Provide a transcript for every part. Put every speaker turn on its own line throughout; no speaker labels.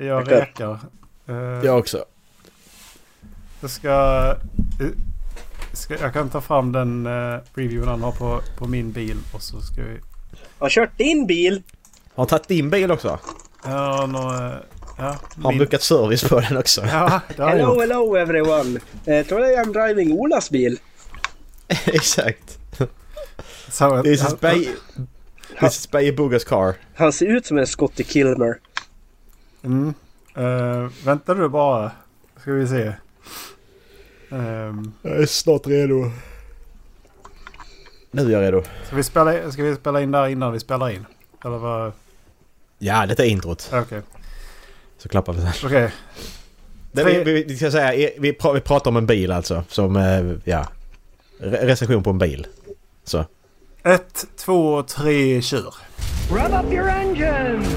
Jag
Tackar.
rekar. Eh,
Jag också.
Jag ska, eh, ska... Jag kan ta fram den eh, reviewen han har på, på min bil och så ska vi...
Har kört din bil?
Har han tagit din bil också?
Här har några... eh, Ja,
Har han
min,
bokat service på den också?
ja, det har jag
Hello,
gjort.
hello everyone! Eh, tror jag I'm driving Olas bil.
Exakt.
Så,
This
han-
is Bay... This is Bay Bugas car.
Han ser ut som en Scotty Kilmer.
Mm. Eh, vänta du bara. Ska vi se. Ehm,
Jag är snart redo. Nu är jag redo.
ska, vi spela, ska vi spela in där innan vi spelar in? Eller vad?
Ja, detta är introt.
Okej. Okay.
Så klappar vi sen.
Okej.
Det, vi, vi, vi ska säga, eh, vi, pra, vi pratar om en bil alltså. Som, eh, ja. Re- recension på en bil. Så.
Ett, två, tre, kör.
Rev up your engines!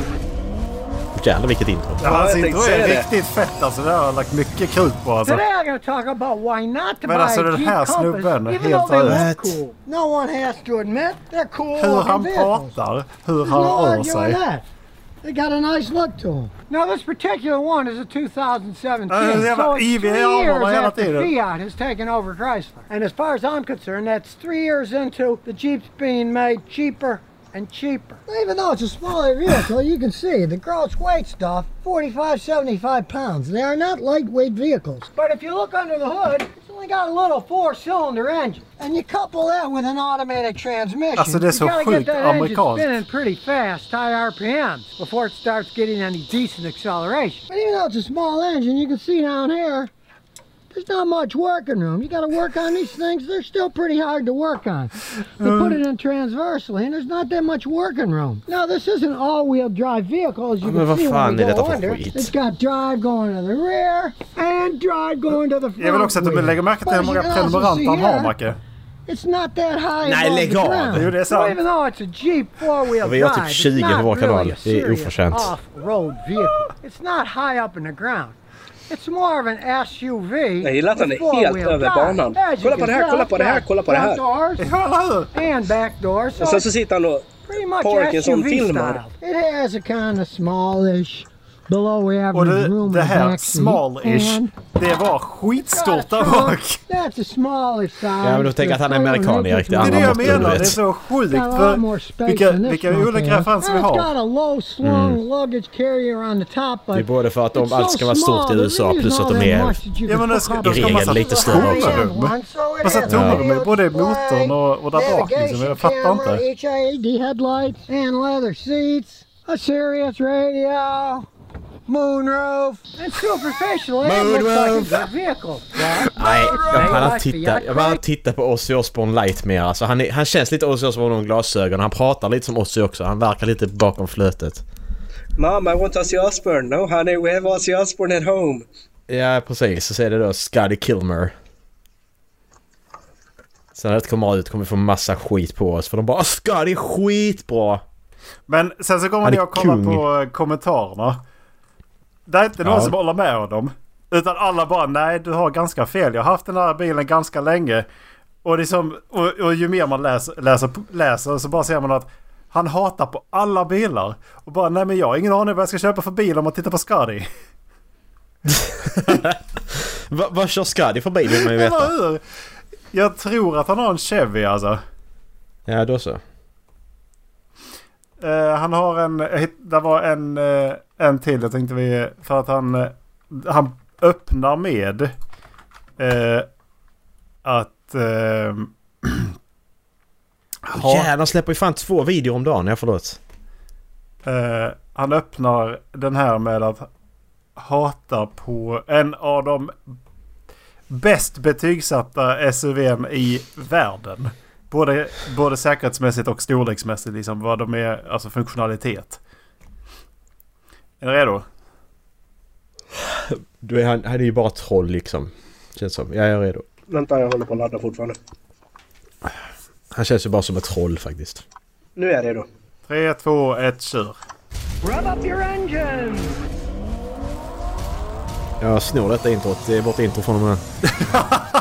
Jävlar vilket intro.
Ja,
jag
Hans
tänkte
intro
säga
Alltså, är
det.
riktigt fett alltså. Det har jag lagt mycket krut på alltså.
Today I'm going to talk about why not to
Men
buy
alltså, den
Jeep
här
Compass,
snubben är
even
helt
though they
rätt.
look cool. No one has to admit they're cool
Hur
looking
han
vehicles.
pratar, hur
There's
han
no
rör
arguing with
sig.
that. They got a nice look to them. Now this particular one is a 2017,
Uh, they have
so
a
it's
EVA
three
all the
years
way out
after
there.
Fiat has taken over Chrysler. And as far as I'm concerned, that's three years into the Jeeps being made cheaper and cheaper. Even though it's a smaller vehicle, you can see the gross weight stuff, 45, 75 pounds. They are not lightweight vehicles. But if you look under the hood, it's only got a little four-cylinder engine. And you couple that with an automatic transmission,
Alltså, det är så
you gotta
sjukt
get that engine
amerikanskt.
spinning pretty fast, high RPMs, before it starts getting any decent acceleration. But even though it's a small engine, you can see down here, there's not much working room. You got to work on these things. They're still pretty hard to work on. They
Uh,
put it in transversely, and there's not that much working room. Now, this is an all-wheel drive vehicle, as you
men
can
vad
see
fan
when we
är detta
go
för
under.
skit?
It's got drive going to the rear and drive going to the front.
Jag vill också att du
wheel.
lägger märke till
But
hur
as you
många
can also
prenumeranter han
see
har,
here,
Macke.
It's not that high
Nej,
above
lägg
the
av.
ground.
Jo, det är sant.
So even though it's a Jeep four-wheel
Vi har typ
drive, it's
20 på
not
vår kanal.
really a
Det är
serious
oförtjänt.
off-road vehicle. It's not high up in the ground. It's more of an SUV.
Jag gillar att han är
with
helt
four-wheel
över
drive.
banan.
As you
Kolla på
can
det här,
tell,
kolla på det här,
it's got
kolla på det här.
front doors
Ja, eller hur?
And back doors. So
Och sen så sitter han och...
pretty much
Parkinson
SUV
filmar.
style. It has a kind of smallish, below
Och
average
det,
room
det
in the
här,
back seat.
small-ish,
And
det var skitstort där bak.
That's a smallish size.
Ja, men du tänker att han är amerikan, Erik. Det
Det är det jag
måste vara
menar. Det
rätt.
är så sjukt.
Got a lot
För
more space
vilka,
than this
vilka
one
olika
had.
referenser vi
And It's got
har.
a low slung luggage carrier on the top, but
Mm. Det är både för att de
it's so
allt ska vara stort i
small,
USA,
there
plus
isn't
att de
all
är
that much that you
Ja,
can
men det
put
ska- Alltså,
up
de
ska
in
massa
a
lite
high-end
större också.
one, so it
Massa
has
tomrum i både
audio
motorn och, och där bak liksom. Jag fattar
camera,
inte.
HID headlights and leather seats, a Sirius radio, moonroof, and superficial it looks like it's a vehicle.
Nej, jag pallar titta. Jag bara titta på Ozzy Osbourne light mer. Alltså, han, är, han känns lite Ozzy Osbourne med glasögon. Han pratar lite som Ozzy också. Han verkar lite bakom flötet.
Mom, I want Ozzy Osbourne. No honey, we have Ozzy Osbourne at home.
Ja, precis. Så säger det då Scotty Kilmer. Sen när det kommer ut kommer vi få massa skit på oss för de bara Scotty är skitbra!
Men sen så kommer
Han är
jag och kollar
kung.
på eh, kommentarerna. Det är inte någon
Ja.
som håller med honom. Utan alla bara nej du har ganska fel. Jag har haft den här bilen ganska länge. Och, det är som, och, och ju mer man läser, läser, läser så bara ser man att han hatar på alla bilar. Och bara nej men jag har ingen aning vad jag ska köpa för bil om man tittar på Scotty.
Va, vad kör Scotty för bil vill man ju
Eller
veta.
hur? Jag tror att han har en Chevy alltså.
Ja, då så.
Eh, han har en, jag hitt- det var en, eh, en till jag tänkte vi, för att han, eh, han öppnar med eh, att eh,
Oh, jävlar, han släpper ju fan två videor om dagen. Ja, förlåt.
eh, han öppnar den här med att hata på en av de bäst betygsatta SUVn i världen. Både, både säkerhetsmässigt och storleksmässigt liksom vad de är, alltså funktionalitet. Är ni redo?
Du, är- han, han är ju bara troll liksom. Känns som. Jag är redo.
Vänta, jag håller på att ladda fortfarande.
Han känns ju bara som ett troll faktiskt.
Nu är jag redo.
3, 2, 1, kör.
Rev up your engines!
Jag snor detta introt. Det är vårt intro från och med.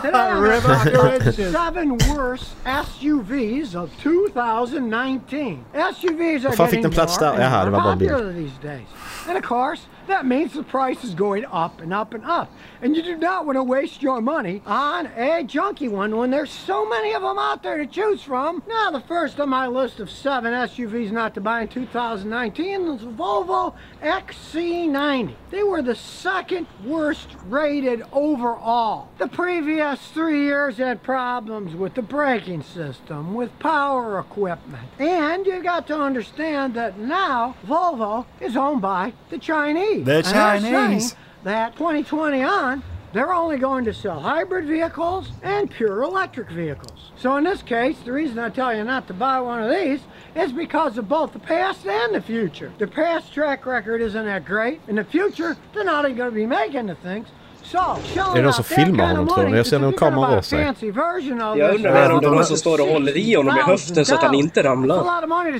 Today I'm going to talk about seven worst SUVs of 2019. SUVs are
Varför fick
getting
den plats
more
där? Jaha, det
and
var bara
more
en bil.
popular these days. And of course, That means the price is going up and up and up. And you do not want to waste your money on a junky one when there's so many of them out there to choose from. Now, the first on my list of seven SUVs not to buy in 2019 was the Volvo XC90. They were the second worst rated overall. The previous three years had problems with the braking system, with power equipment. And you got to understand that now Volvo is owned by the Chinese.
The
And they're
Chinese.
saying That 2020 on, they're only going to sell hybrid vehicles and pure electric vehicles. So in this case, the reason I tell you not to buy one of these is because of both the past and the future. The past track record isn't that great. In the future, they're not even going to be making the things. So,
Det är de som filmar honom, tror jag. Jag ser någon kamera rör sig.
Jag undrar
här
här
om det är någon som
står och håller i honom i höften så att han inte ramlar.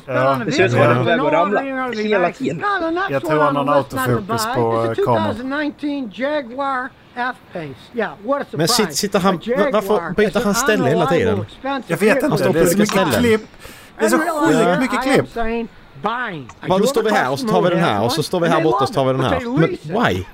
Ja.
Det ser ut som att han är på väg att ramla hela tiden.
Jag tror han har en autofokus på, eh, kameran.
2019 Jaguar F-Pace. Yeah, what a surprise.
Men sit- sitter han-
A Jaguar
varför byter
is an
han ställe hela tiden?
unreliable, expensive
Jag vet
vehicle.
inte.
står
Det är så
olika
mycket
ställen.
klipp. Det är så sjukt mycket
I am
klipp.
saying buying.
Bara, nu står vi här och så tar vi den här och så står vi här borta och så tar vi den här. Men why?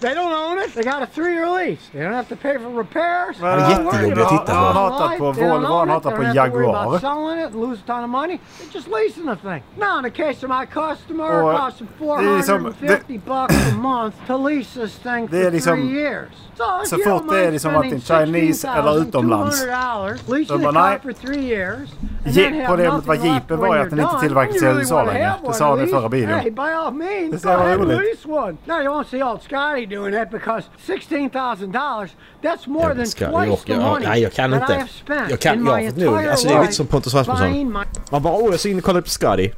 They don't own it. They got a three-year lease. They don't have to pay for repairs.
Men
They don't
jättejobbig
worry
att
about
titta på.
it.
Han hatar på
They don't
Volvo, han
own it.
hatar
They
på
don't have to worry
Jaguar.
about selling it, lose a ton of money. They're just leasing the thing. Now, in the case of my customer,
Och
it cost them
det är liksom-
450 bucks a month to lease this thing
Det är
for
liksom-
three years. So, if
så
you
fort
don't
det är
mind
liksom att
spending
det är Chinese eller utomlands,
$16,200, leasing
då
the
bara,
car
nej.
for three years, and
Jeep-
then have
problemet var
nothing left
Jeepen
when
var ju
you're
att den inte
done.
tillverkades i
You really
USA
wanna
längre.
have
Det
one
sa han i
of these.
förra videon.
Hey, by all means,
Det ser
go ahead and
roligt.
lease one. Now you won't see old Scotty doing that because sixteen thousand dollars. That's more
Jag
than
ska-
twice
jag-
the
jag-
money
nej, jag kan
that
inte.
I have spent
Jag kan-
in
jag
my
har fått nog.
entire
Alltså, det är
life
lite som Pontus Rasmusson.
buying my-
Man bara åh jag ska in och kolla upp Scuddy.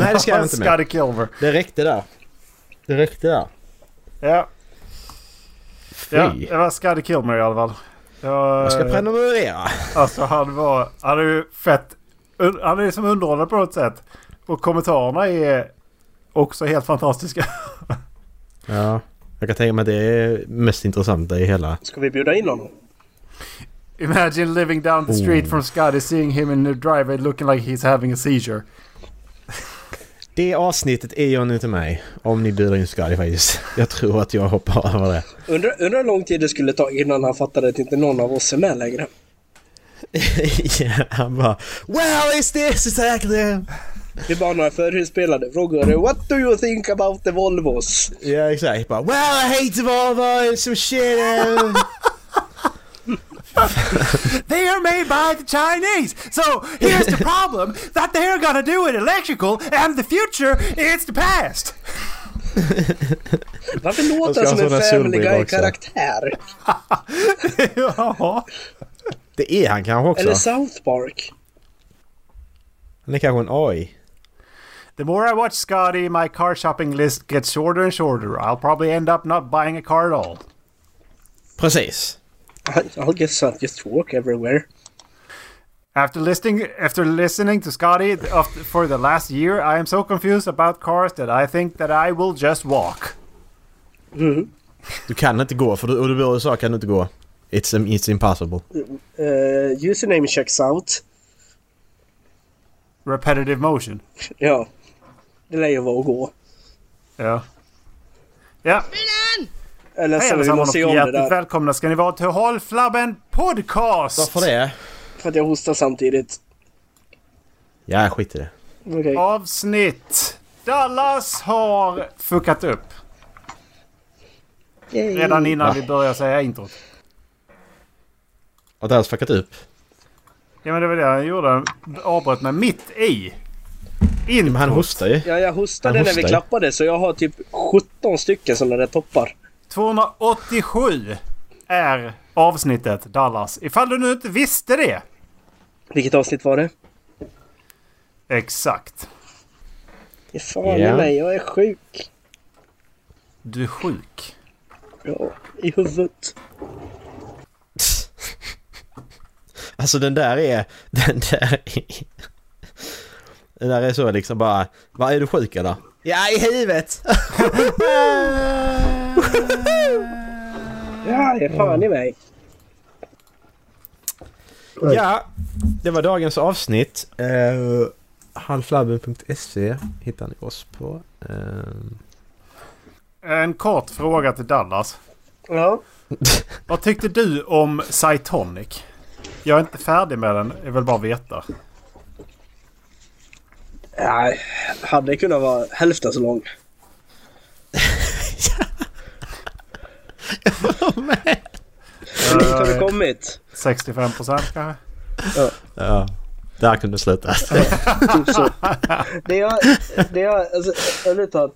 Nej det ska jag inte med.
Scotty Kilver.
Det räckte där. Det räckte där.
Ja. ja,
Fy.
det var Scotty Kilmer i alla fall. Jag,
Jag ska prenumerera.
Alltså han var... Han är ju fett... un- Han är liksom underhållande på något sätt. Och kommentarerna är också helt fantastiska.
Ja. Jag kan tänka mig att det är mest intressanta i hela...
Ska vi bjuda in honom?
Imagine living down the street
Oh.
from Scotty seeing him in the driveway looking like he's having a seizure.
Det avsnittet är jag nu till mig. Om ni bjuder in Scuddy faktiskt. Jag tror att jag hoppar över det.
Undrar undrar hur lång tid det skulle ta innan han fattade att inte någon av oss är med längre.
ja, han bara... Well is this exactly...
Vi bara några förhusspelade frågor. What do you think about the Volvos?
Ja exakt. Bara, well I hate Volvo and some shit. eh."
They are made by the Chinese. So here's the problem that they're gonna do in electrical and the future is the past.
Varför
Jag
låter
ska
han som en
ha sån här
Family
solbrilla
Guy-karaktär?
ja.
det är han kanske också.
Eller South Park?
Han är kanske en AI.
The more I watch Scotty, my car shopping list gets shorter and shorter. I'll probably end up not buying a car at all.
Precis.
I, I guess I just walk everywhere.
After listening, after listening to Scotty of, for the last year, I am so confused about cars that I think that I will just walk.
Du kan inte gå för du, och du bor i USA kan du inte gå. It's, it's impossible.
Eh, username checks out.
Repetitive motion.
Ja. Det lär ju vara att gå.
Ja. Ja,
Eller
hej
så vi
allesammans och
måste se om det
hjärtligt
där.
välkomna ska ni vara till Håll Flabben Podcast!
Varför det?
För att jag hostar samtidigt.
Ja, skit i det.
Okej.
Avsnitt. Dallas har fuckat upp. Redan innan vi börjar säga introt.
Har Dallas fuckat upp?
Ja men det var det han gjorde. Han Avbröt mig mitt i.
Men han
Introt.
hostar ju.
Ja, jag hostade
Han
när vi
hostar.
klappade så jag har typ 17 stycken sådana där toppar.
287 är avsnittet Dallas. Ifall du nu inte visste det.
Vilket avsnitt var det?
Exakt.
Ge Fan
Ja.
i mig, jag är sjuk.
Du är sjuk.
Ja, I huvudet.
Alltså den där är... Den där är... Den där är så liksom bara... Vad är du sjuk eller? Ja, i huvudet!
Ja, ge fan i mig.
ja, det var dagens avsnitt. Uh, Eh, Halflabben.se hittar ni oss på. Eh,
En kort fråga till Dallas.
Ja.
Vad tyckte du om Cytonic? Jag är inte färdig med den. Jag vill bara veta.
Nej, hade kunnat vara hälften så lång. Hur långt har du kommit?
65 Eh, procent kanske?
Ja. Där kunde det sluta.
Typ så. Det jag, det jag, alltså, ärligt talat.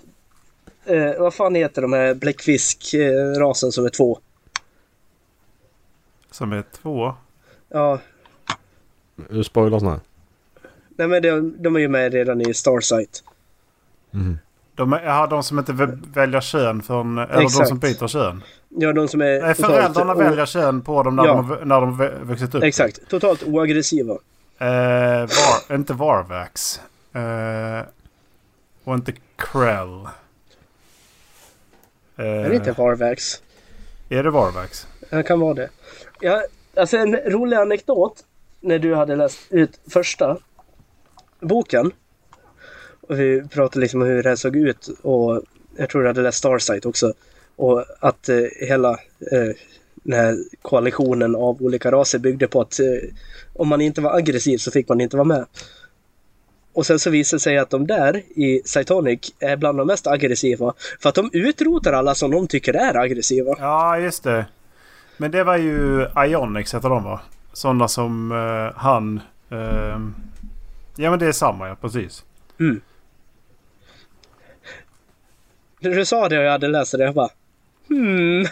Eh, vad fan heter de här bläckfisk-rasen som är två?
Som är två?
Ja,
Du spoilers nu.
nej men de, de är ju med redan i Starsight.
De, är, ja, de som inte vä- väljer kön förrän... Eller de
Exakt.
som byter kön.
Ja, de som är...
Nej,
totalt
föräldrarna
o-
väljer kön på dem när,
Ja.
de, har vä- när de har vä- vuxit upp.
Exakt, totalt oaggressiva.
Eh, var, inte Varvax. Eh, och inte Krell. Eh,
Är det inte Harvax?
Är det Varvax?
Det kan vara det. Ja, alltså en rolig anekdot när du hade läst ut första boken. Och vi pratade liksom om hur det här såg ut och jag tror du hade läst Starsight också. Och att eh, hela eh, den här koalitionen av olika raser byggde på att eh, om man inte var aggressiv så fick man inte vara med. Och sen så visar det sig att de där i Cytonic är bland de mest aggressiva. För att de utrotar alla som de tycker är aggressiva.
Ja, just det. Men det var ju Ionics heter de va? Sådana som eh, han... ehm, ja men det är samma ja, precis.
När du sa det och jag hade läst det, jag bara hmm.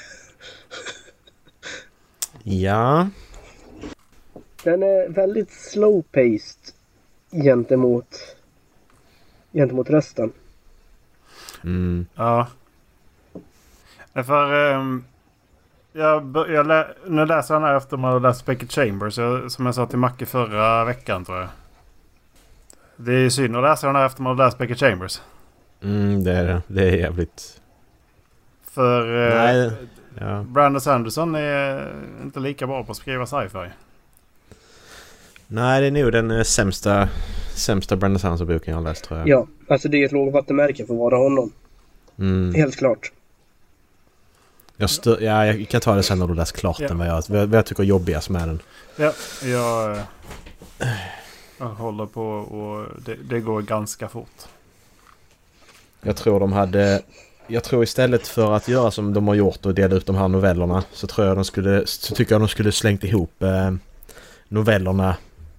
Ja.
Den är väldigt slow-paced gentemot, gentemot resten.
Mm.
Ja. Nej, För... ehm, jag, bör- jag lä, nu läser jag den här efter man har läst Beckett Chambers. Jag, som jag sa till Macke förra veckan tror jag. Det är synd att läsa den här efter man har läst Beckett Chambers.
Mm, det är det. Det är jävligt...
För eh,
Nej. Ja.
Brandon Sanderson är inte lika bra på att skriva sci-fi.
Nej, det är nog den eh, sämsta, sämsta Brandon Sanderson-boken jag har läst tror jag.
Ja, alltså det är ett lågvattenmärke för vara honom.
Mm.
Helt klart.
Jag, stö- ja, jag kan ta det sen när du läst klart
Ja.
den, vad jag, vad jag- vad jag tycker är jobbigast med den.
Ja, jag, eh, jag håller på och det, det går ganska fort.
Jag tror de hade... Jag tror istället för att göra som de har gjort och dela ut de här novellerna så tror jag de skulle... Så tycker jag de skulle slängt ihop eh, novellerna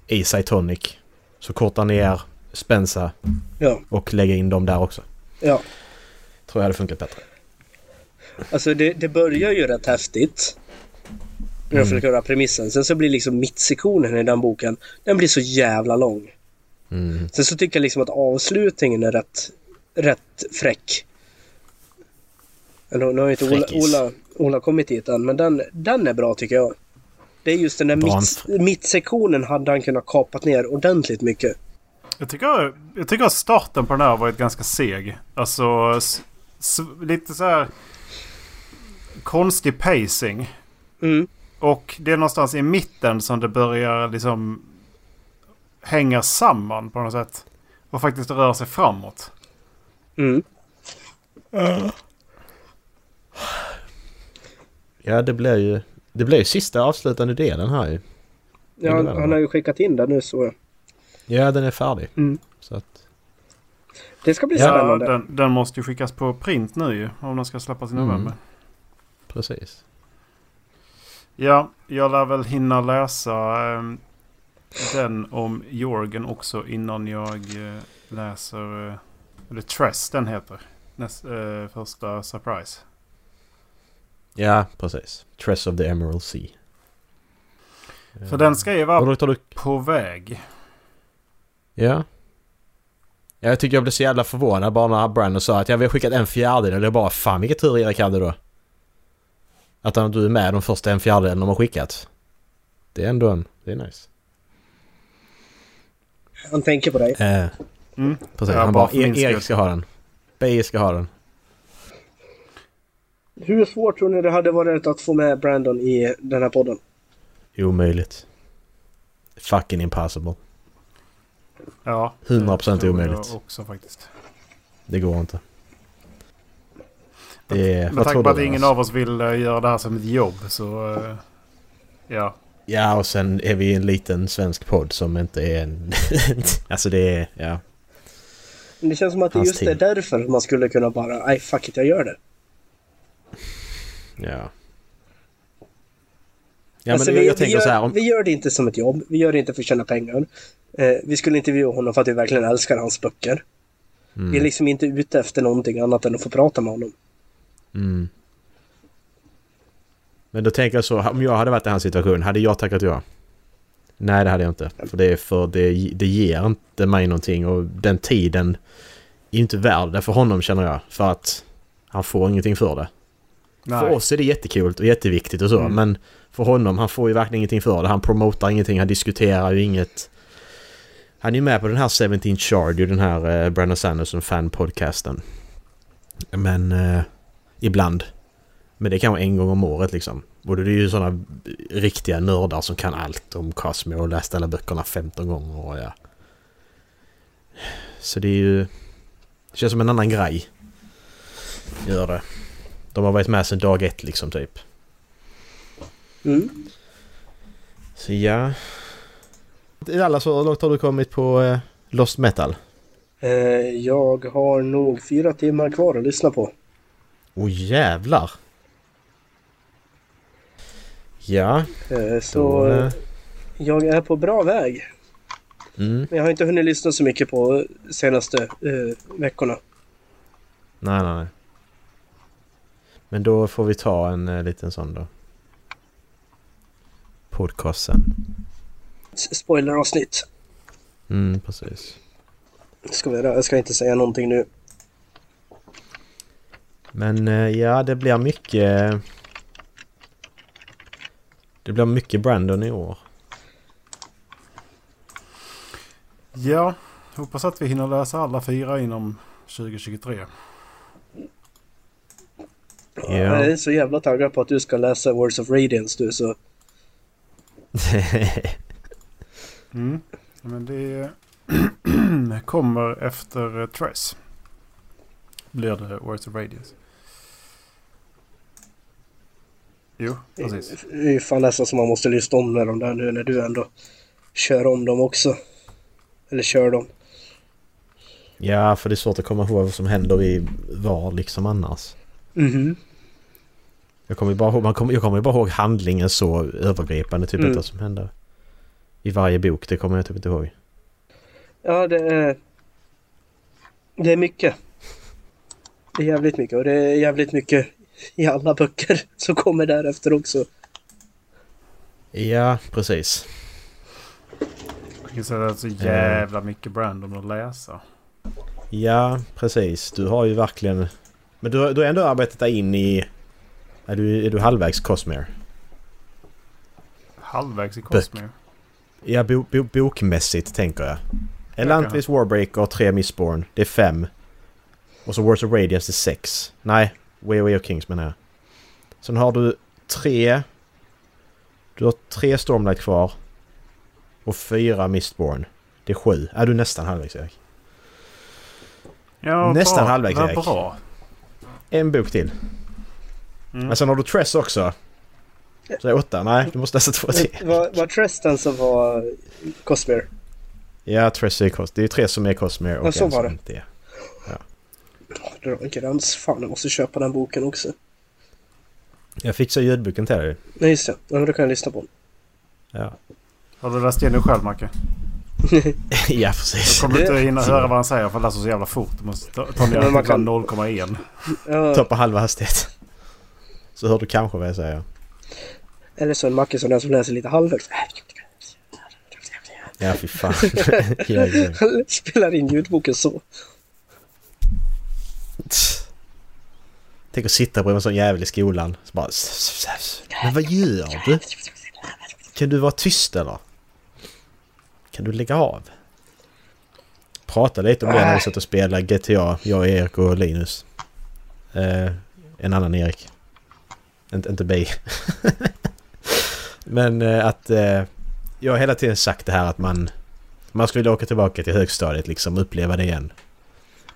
i Cytonic. Så korta ner Spensa
Ja,
och lägga in dem där också.
ja.
Tror jag hade funkat bättre.
Alltså det, det börjar ju rätt häftigt. När
Mm.
jag försöker höra premissen. Sen så blir liksom mittsektionen i den boken, den blir så jävla lång.
Mm.
Sen så tycker jag liksom att avslutningen är rätt, rätt fräck. Nu, nu har ju inte Ola,
Fräckis.
Ola, Ola kommit hit än, men den, den är bra tycker jag. Det är just den där
Bra.
mitt, mittsektionen hade han kunnat kapat ner ordentligt mycket.
Jag tycker, jag tycker att starten på den här har varit ganska seg. Alltså s, s, lite så här konstig pacing.
Mm.
Och det är någonstans i mitten som det börjar liksom hänga samman på något sätt. Och faktiskt rör sig framåt.
Mm.
Ja, det blir ju... Det blir ju sista avslutande delen här ju.
Ja, han, han har ju skickat in den nu så.
Ja, den är färdig.
Mm.
Så att...
Det ska bli
Ja,
Ja,
spännande.
den, den måste ju skickas på print nu ju. Om den ska släppas i
Mm.
november.
Precis.
Ja, jag lär väl hinna läsa ehm, den om Jorgen också innan jag eh, läser... eh, eller Tress den heter. Näst, eh, första surprise.
Ja, precis. Tress of the Emerald Sea.
För den ska ju
Och
vara
då tar du
på väg.
Ja. Ja, Jag tycker jag blev så jävla förvånad bara när Brandon sa att jag vi har skickat en fjärdedel. Jag bara fan vilken tur Erik hade då. Att han, du är med de första en fjärdedelen de har skickat. Det är ändå en... Det är nice.
Han tänker på dig.
Eh,
Mm.
precis.
Ja,
han
bara
bara,
för min
"E-
skull."
Erik ska ha den. BI ska ha den.
Hur svårt tror ni det hade varit att få med Brandon i den här podden?
Omöjligt. Fucking impossible.
Ja,
100%
det tror jag
omöjligt.
också faktiskt.
Det går inte. Det är,
Med
vad
tanke på
tror du? alltså?
att ingen
Jonas?
av oss vill eh, göra det här som ett jobb så... eh, ja.
Ja, och sen är vi en liten svensk podd som inte är en... alltså det är... Ja.
Men det känns som att det
Hans
just är
tid.
därför man skulle kunna bara, nej fuck it, jag gör det.
Ja. Ja,
Alltså,
men jag,
vi,
jag
vi,
tänker
gör,
så här. Om,
vi gör det inte som ett jobb, vi gör det inte för att tjäna pengar. Eh, vi skulle intervjua honom för att vi verkligen älskar hans böcker. Vi är liksom inte ute efter någonting annat än att få prata med honom.
mm. Men då tänker jag så. Om jag hade varit i hans situation, hade jag tackat ja? Nej, det hade jag inte. För det, är för det, det ger inte mig någonting och den tiden är inte värd det för honom känner jag. För att han får ingenting för det. För
Nej.
oss är det jättekul och jätteviktigt och så,
Mm.
men för honom, han får ju verkligen ingenting för det. Han promotar ingenting, han diskuterar ju inget. Han är ju med på den här 17 Shard, ju den här eh, Brandon Sanderson fan-podcasten. Men eh, ibland. Men det kan vara en gång om året liksom. Och det är ju sådana riktiga nördar som kan allt om Cosmo och läst alla böckerna 15 gånger och ja. Så det är ju... Det känns som en annan grej. Gör det. De har varit med sedan dag ett liksom typ.
Mm.
Så ja. Alla så hur långt har du kommit på eh, Lost Metal?
Eh, jag har nog fyra timmar kvar att lyssna på.
Åh jävlar! Ja,
Eh,
då...
så
eh,
jag är på bra väg.
Mm,
Men jag har inte hunnit lyssna så mycket på senaste eh, veckorna.
nej, nej, nej. Men då får vi ta en eh, liten sån då. Podcast sen.
S- Spoileravsnitt
Mm, precis.
ska vi göra. Jag ska inte säga någonting nu.
Men eh, ja, det blir mycket... Det blir mycket Brandon i år.
Ja. Hoppas att vi hinner läsa alla fyra inom 2023.
Ja.
Jag är så jävla taggad på att du ska läsa Words of Radiance du så
Mm. Men det kommer efter eh, Tress. Blir det Words of Radius. Jo, precis.
det är ju fan nästan som man måste lyssna om med de där nu när du ändå kör om dem också. Eller kör dem.
Ja, för det är svårt att komma ihåg vad som händer i var liksom annars.
Mhm.
Jag kommer ju bara ihåg, man kommer, jag kommer ju bara ihåg handlingen så övergripande, typ
Mm.
inte vad som händer. I varje bok, det kommer jag typ inte ihåg.
Ja, det är... Det är mycket. Det är jävligt mycket och det är jävligt mycket i alla böcker som kommer därefter också.
Ja, precis.
Jag kan säga att det är så
Eh.
jävla mycket Brandon att läsa.
Ja, precis. Du har ju verkligen... Men du, har- du har ändå arbetat dig in i... Är du, är du halvvägs Cosmere?
Halvvägs i Cosmere.
Ja, bo, bo, bokmässigt tänker jag. Elantris Warbreaker, tre Mistborn, det är fem. Och så Words of Radiance det är sex. Nej, Way Way of Kings menar jag. Sen har du tre... Du har tre Stormlight kvar. Och fyra Mistborn. Det är sju. Är du är nästan halvvägs Erik?
Ja,
Nästan
bra.
halvvägs,
Vad
Erik.
bra.
En bok till.
Mm.
Men sen har du Tress också. Så är åtta. Nej, du måste läsa två till.
Var, var Tristan som var Cosmere?
Ja, Tress är Cos- Det är tre som är Cosmere och
Ja, så
en
var
som
det.
inte är.
Det var en gräns. Fan, jag måste köpa den boken också.
Jag fixar ljudboken till dig.
Nej, just det. Ja, men då kan jag lyssna på den.
Ja,
Har du läst igenom själv Macke?
ja precis.
Jag kommer inte hinna höra vad han säger för han läser så jävla fort. Du måste ta, ta
Men
ner
man kan-
0,1.
Ja,
Ta på halva hastighet. Så hör du kanske vad jag säger.
eller så en Macke som den som läser lite Äh, halvhögt.
Ja, fy fan. Ja, ja.
Spelar in ljudboken så.
Tänk att sitta bredvid en sån jävel i skolan. Så bara... s- s- s- Men vad gör du? Kan du vara tyst eller? Kan du lägga av? Prata lite om det när vi satt och spelade GTA, jag, Erik och Linus. Eh, en annan Erik. Inte, inte Bay. Men eh, att... Eh, jag har hela tiden sagt det här att man... Man skulle vilja åka tillbaka till högstadiet liksom, uppleva det igen.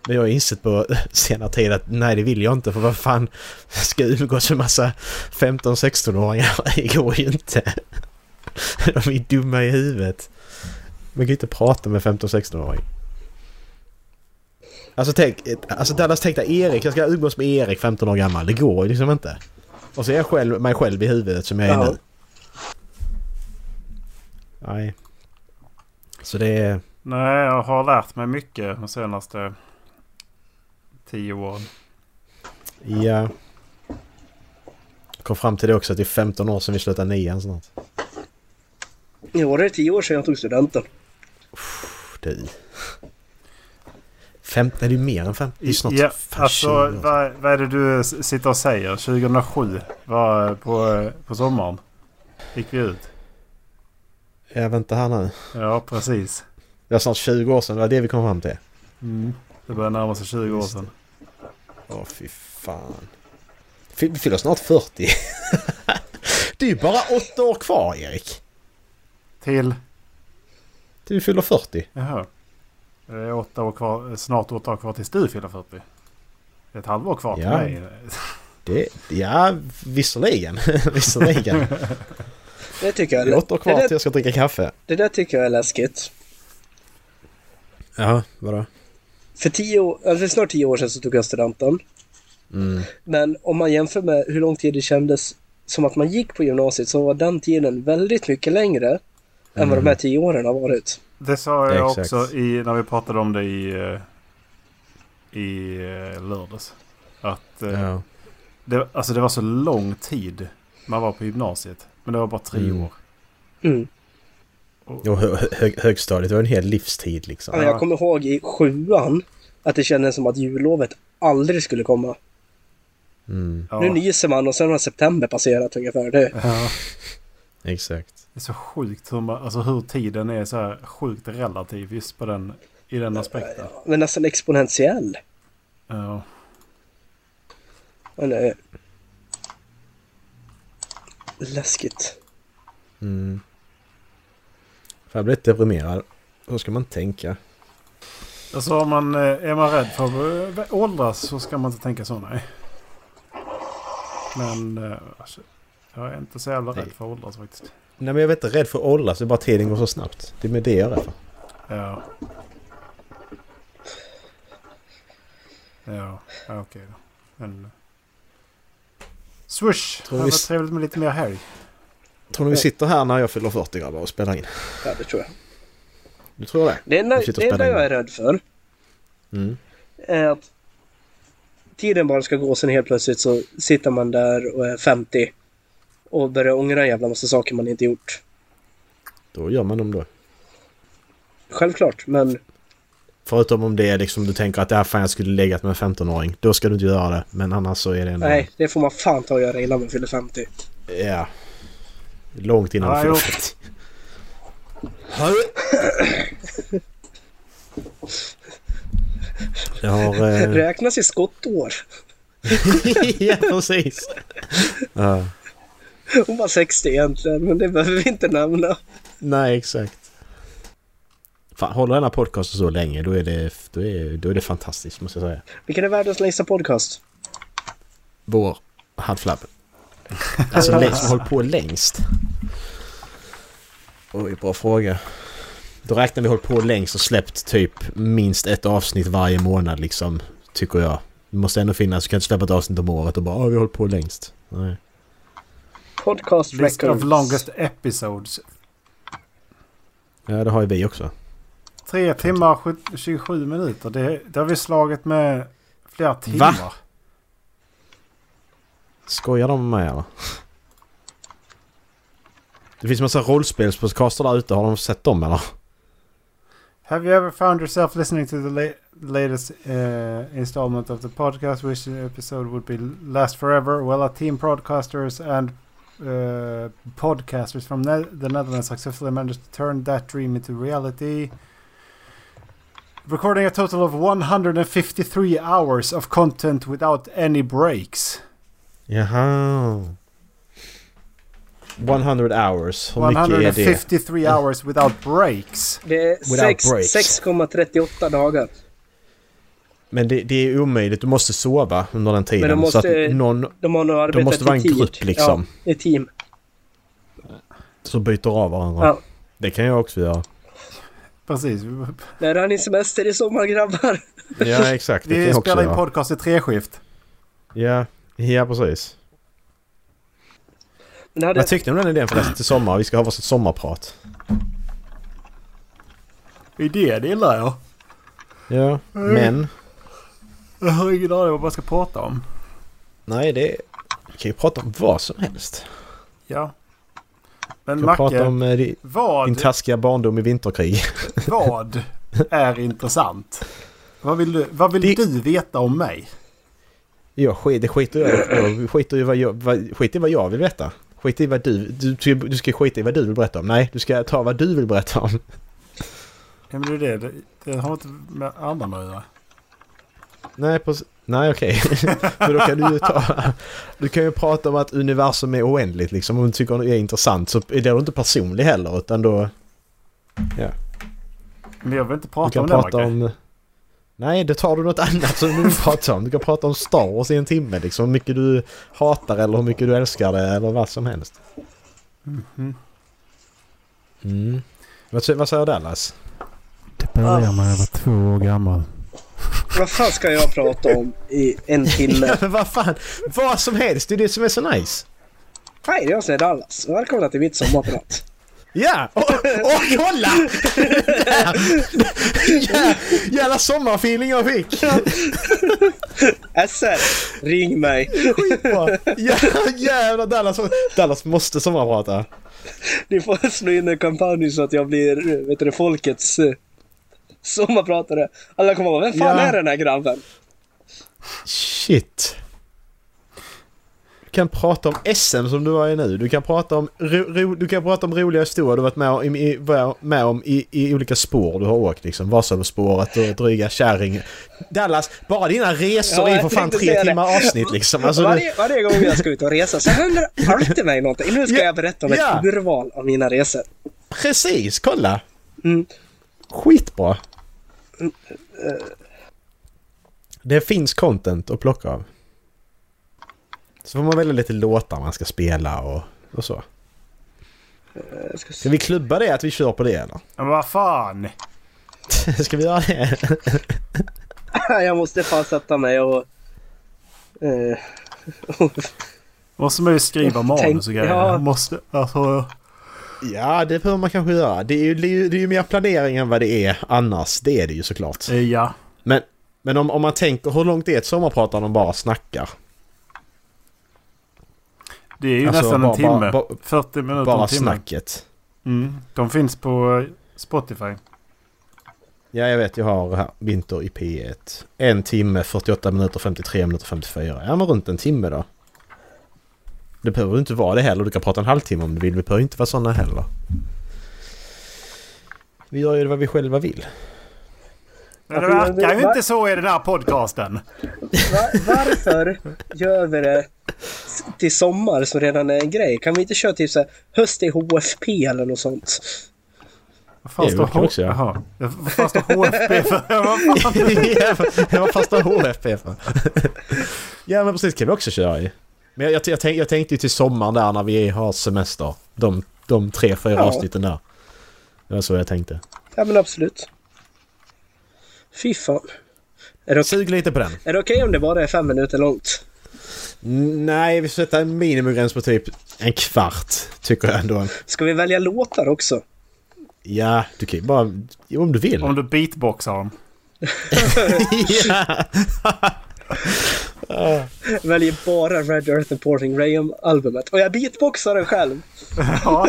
Men jag har insett på senare tid att nej det vill jag inte för vad fan ska jag umgås med massa 15-16-åringar? Det går ju inte. De är dumma i huvudet. Man kan ju inte prata med 15-16-åring. Alltså tänk, alltså Dallas tänkte Erik, jag ska umgås med Erik 15 år gammal. Det går ju liksom inte. Och så är jag själv, mig själv i huvudet som jag är
Ja.
nu. Nej. Så det är...
Nej, jag har lärt mig mycket de senaste tio åren.
Ja. Jag kom fram till det också att det är 15 år sedan vi slutade nian snart.
I år är det tio år sedan jag tog studenten.
Pff, Du. Fem, nej, det är mer än fem. Det är snart
ja,
fan,
alltså
20 år sedan.
vad, vad är det du s- sitter och säger? 2007 var eh, på, eh, på sommaren gick vi ut.
Jag väntar här nu.
Ja, precis.
Det var snart 20 år sedan. Det var det vi kom fram till. Mm.
Det börjar närma sig 20 år sedan.
Åh fy fan. Fy- Vi fyller snart 40. det är ju bara 8 år kvar Erik.
Till?
Du fyller 40.
Jaha. Det är åtta år kvar, snart åtta år kvar tills du fyller 40. Det är ett halvår kvar till
Ja.
mig.
Det, ja, visserligen. visserligen.
Det tycker jag
Det är 8 år kvar
det,
till
där,
jag ska dricka kaffe.
det där tycker jag är läskigt.
Ja, vadå?
För tio år, alltså för snart tio år sedan så tog jag studenten.
Mm.
Men om man jämför med hur lång tid det kändes som att man gick på gymnasiet så var den tiden väldigt mycket längre än vad de här tio åren har varit.
Det sa jag
Exakt.
också i, när vi pratade om det i, eh, i eh, lördags. Att eh,
Ja.
det, alltså det var så lång tid man var på gymnasiet. Men det var bara tre
Mm.
år.
Mm.
Jo, hö- hö- högstadiet var en hel livstid
Ja,
liksom.
Jag kommer ihåg i sjuan att det kändes som att jullovet aldrig skulle komma.
Mm,
Ja.
Nu nyser man och sen har september passerat ungefär. Det,
Ja.
exakt.
Det är så sjukt hur, man, alltså hur tiden är så här sjukt relativ just på den, i den aspekten.
men nästan exponentiell.
Ja.
Men, eh, läskigt.
Mm. Fan, jag blir lite deprimerad. Hur ska man tänka?
Alltså om man, eh, är man rädd för att eh, åldras så ska man inte tänka så, nej. Men eh, alltså, jag är inte så jävla rädd
Nej.
för att åldras faktiskt.
Nej men jag vet inte, rädd för att åldras. Det är bara tiden går så snabbt. Det är med det jag är rädd för.
Ja. Ja, ja, okej då. Men... Swoosh! Det
Tror vi
var
s-
trevligt med lite mer helg.
Tror ni vi sitter här när jag fyller 40 grabbar och spelar in?
Ja, det tror jag.
Du tror det?
Det enda,
Vi sitter och
det enda
spelar in.
jag är rädd för
Mm.
är att tiden bara ska gå sen helt plötsligt så sitter man där och är 50 och börjar ångra en jävla massa saker man inte gjort.
Då gör man dem då.
Självklart,
Mm.
men
Förutom om det är liksom du tänker att det här fan jag skulle legat med en 15-åring. Då ska du inte göra det. Men annars så är det ändå...
nej, det får man fan ta och göra innan man fyller 50.
Ja. Långt innan
Ja,
du fyller
jo.
40. Hallå? Jag har... Eh...
Räknas i skottår.
ja, precis. Ja.
Hon var 60 egentligen, men det behöver vi inte nämna.
Nej, exakt. Fan, håller den här podcasten så länge då är det, då är, då är det fantastiskt måste jag säga.
Vilken är världens längsta podcast?
Vår hardflab. Alltså den som har hållit på längst. Oj, bra fråga. Då räknar vi hållit på längst och släppt typ minst ett avsnitt varje månad liksom. Tycker jag. Det måste ändå finnas, du kan inte släppa ett avsnitt om året och bara "Ah, vi har hållit på längst. Nej.
Podcast
List
records.
of longest episodes.
Ja, det har ju vi också.
Tre timmar sju- 27 minuter. Det, det har vi slagit med flera timmar.
Skojar de med mig eller? Det finns massa rollspelspodcaster där ute, har de sett dem eller?
Have you ever found yourself listening to the la- latest uh, installment of the podcast? Which episode would be last forever? Well, a team broadcasters and uh, podcasters from ne- the Netherlands successfully managed to turn that dream into reality. Recording a total of 153 hours of content without any breaks.
Jaha. 100 hours, hur mycket E är det?
153 hours without breaks.
Det är
Without
sex-
breaks.
6,38 dagar.
Men det, det är omöjligt. Du måste sova under den
Men
tiden.
de
så
måste-
att någon
De har nog arbetat
måste vara en
i team.
grupp, liksom.
Ja, i team.
så byter av varandra.
Ja.
Det kan jag också göra.
Precis.
När är ni semester i sommar grabbar?
Ja, exakt. Det kan
Vi
jag också
spelar in
göra.
podcast i treskift.
Ja, ja precis.
Men det hade,
Vad tyckte ni om den idén förresten till sommar? Vi ska ha varsitt sommarprat.
Idén gillar jag.
Ja, men...
Jag har ingen aning om vad jag ska prata om.
Nej, det... Vi kan ju prata om vad som helst.
Ja. Men
Vi kan prata
Macke,
om eh, di- din
vad,
taskiga barndom i vinterkrig.
vad är intressant? Vad vill, du, vad vill
Det-
du veta om mig?
Jag skit, det skiter jag i. Skit i vad jag, vad, skit i vad jag vill veta. Skit i vad du, du... ska- Du ska skita i vad du vill berätta om. Nej, du ska ta vad du vill berätta om.
Ja, men det, är det, det, det har inte med andra med att göra.
Nej, precis. Nej, okej. Men då kan du ju ta... Du kan ju prata om att universum är oändligt liksom. Om du tycker det är intressant så är det inte personlig heller utan då...
Men jag vill inte
Du
prata
kan
om det
prata
Macke.
om... Nej, då tar du något annat som du vill prata om. Du kan prata om Star Wars i en timme liksom. Hur mycket du hatar eller hur mycket du älskar det eller vad som helst. Mhm. Mm. Vad, sä- vad säger Dallas?
Det började när jag var två år gammal.
vad fan ska jag prata om i en timme?
Men vad fan? Vad som helst! Det är det som är så nice!
Hej, jag säger Dallas. Välkomna till mitt sommarprat.
Ja! Åh, åh, kolla! Där! Ja, jävla sommarfeeling jag fick!
SR, ring mig.
Skitbra! Ja, jävlar Dallas! Dallas måste sommarprata.
Ni får slå in en kampanj så att jag blir vet du, folkets eh, sommarpratare. Alla kommer ihåg, vem fan
Ja.
är den här grabben?
Shit. Du kan prata om SM som du var i nu. Du kan prata om, ro, ro, du kan prata om roliga historier du varit med om, i, var- med om i, i olika spår du har åkt. Liksom. Vasaloppsspåret och dryga kärring. Dallas, bara dina resor
Ja,
är ju
jag
för fan
tänkte
tre
säga det.
timmar avsnitt liksom. Alltså, du-
varje, varje gång jag ska ut och resa så händer det alltid mig någonting. Nu ska
Ja,
jag berätta om ett
ja.
urval av mina resor.
Precis, kolla!
Mm. eh.
Skitbra! Det finns content att plocka av. Så får man välja lite låtar man ska spela och, och så.
Jag Eh, ska se.
Ska vi klubba det att vi kör på det eller?
Men vad fan!
Ska vi göra det?
Jag måste fan sätta mig och... eh,
Måste man ju skriva manus och grejer.
ja.
Måste, alltså,
Ja, det behöver man kanske göra. Det är ju, det är ju, det är ju mer planering än vad det är annars. Det är det ju såklart.
eh, ja.
Men, men om, om man tänker hur långt det är ett sommarprat om de bara snackar?
Det är ju
Alltså,
nästan
bara-
en timme.
bara- bara-
40 minuter
Bara
en timme.
snacket.
Mm. De finns på eh, Spotify.
Ja, jag vet. Jag har här, Vinter i P1. En timme, 48 minuter, 53 minuter, 54. Ja, men runt en timme då. Det behöver ju inte vara det heller. Du kan prata en halvtimme om du vill. Vi behöver ju inte vara sådana heller. Vi gör ju vad vi själva vill.
Men det
Ja, men-
verkar ju
va-
inte så i den här podcasten.
va- varför gör vi det s- till sommar som redan är en grej? Kan vi inte köra typ så här, höst i HFP eller något sånt?
Vad fan
Det
står
kan vi
H-
också göra.
Jaha. Vad fan står HFB för? Vad fan?
det var fasta HFP för. ja, men precis. kan vi också köra i. Men jag, jag, jag, tänk, jag tänkte ju till sommaren där när vi har semester. De, de tre, fyra
Ja.
avsnitten där. Det var så jag tänkte.
Ja men absolut. Fy fan. Är det okej,
Sug lite på den.
är det okej om det bara är fem minuter långt?
Nej, vi får sätta en minimigräns på typ en kvart, tycker jag ändå.
Ska vi välja låtar också?
Ja, du kan ju bara... Jo, om du vill.
Om du beatboxar dem.
ja.
Väljer bara Red Earth and Porting Graham-albumet. Och jag beatboxar den själv.
Ja.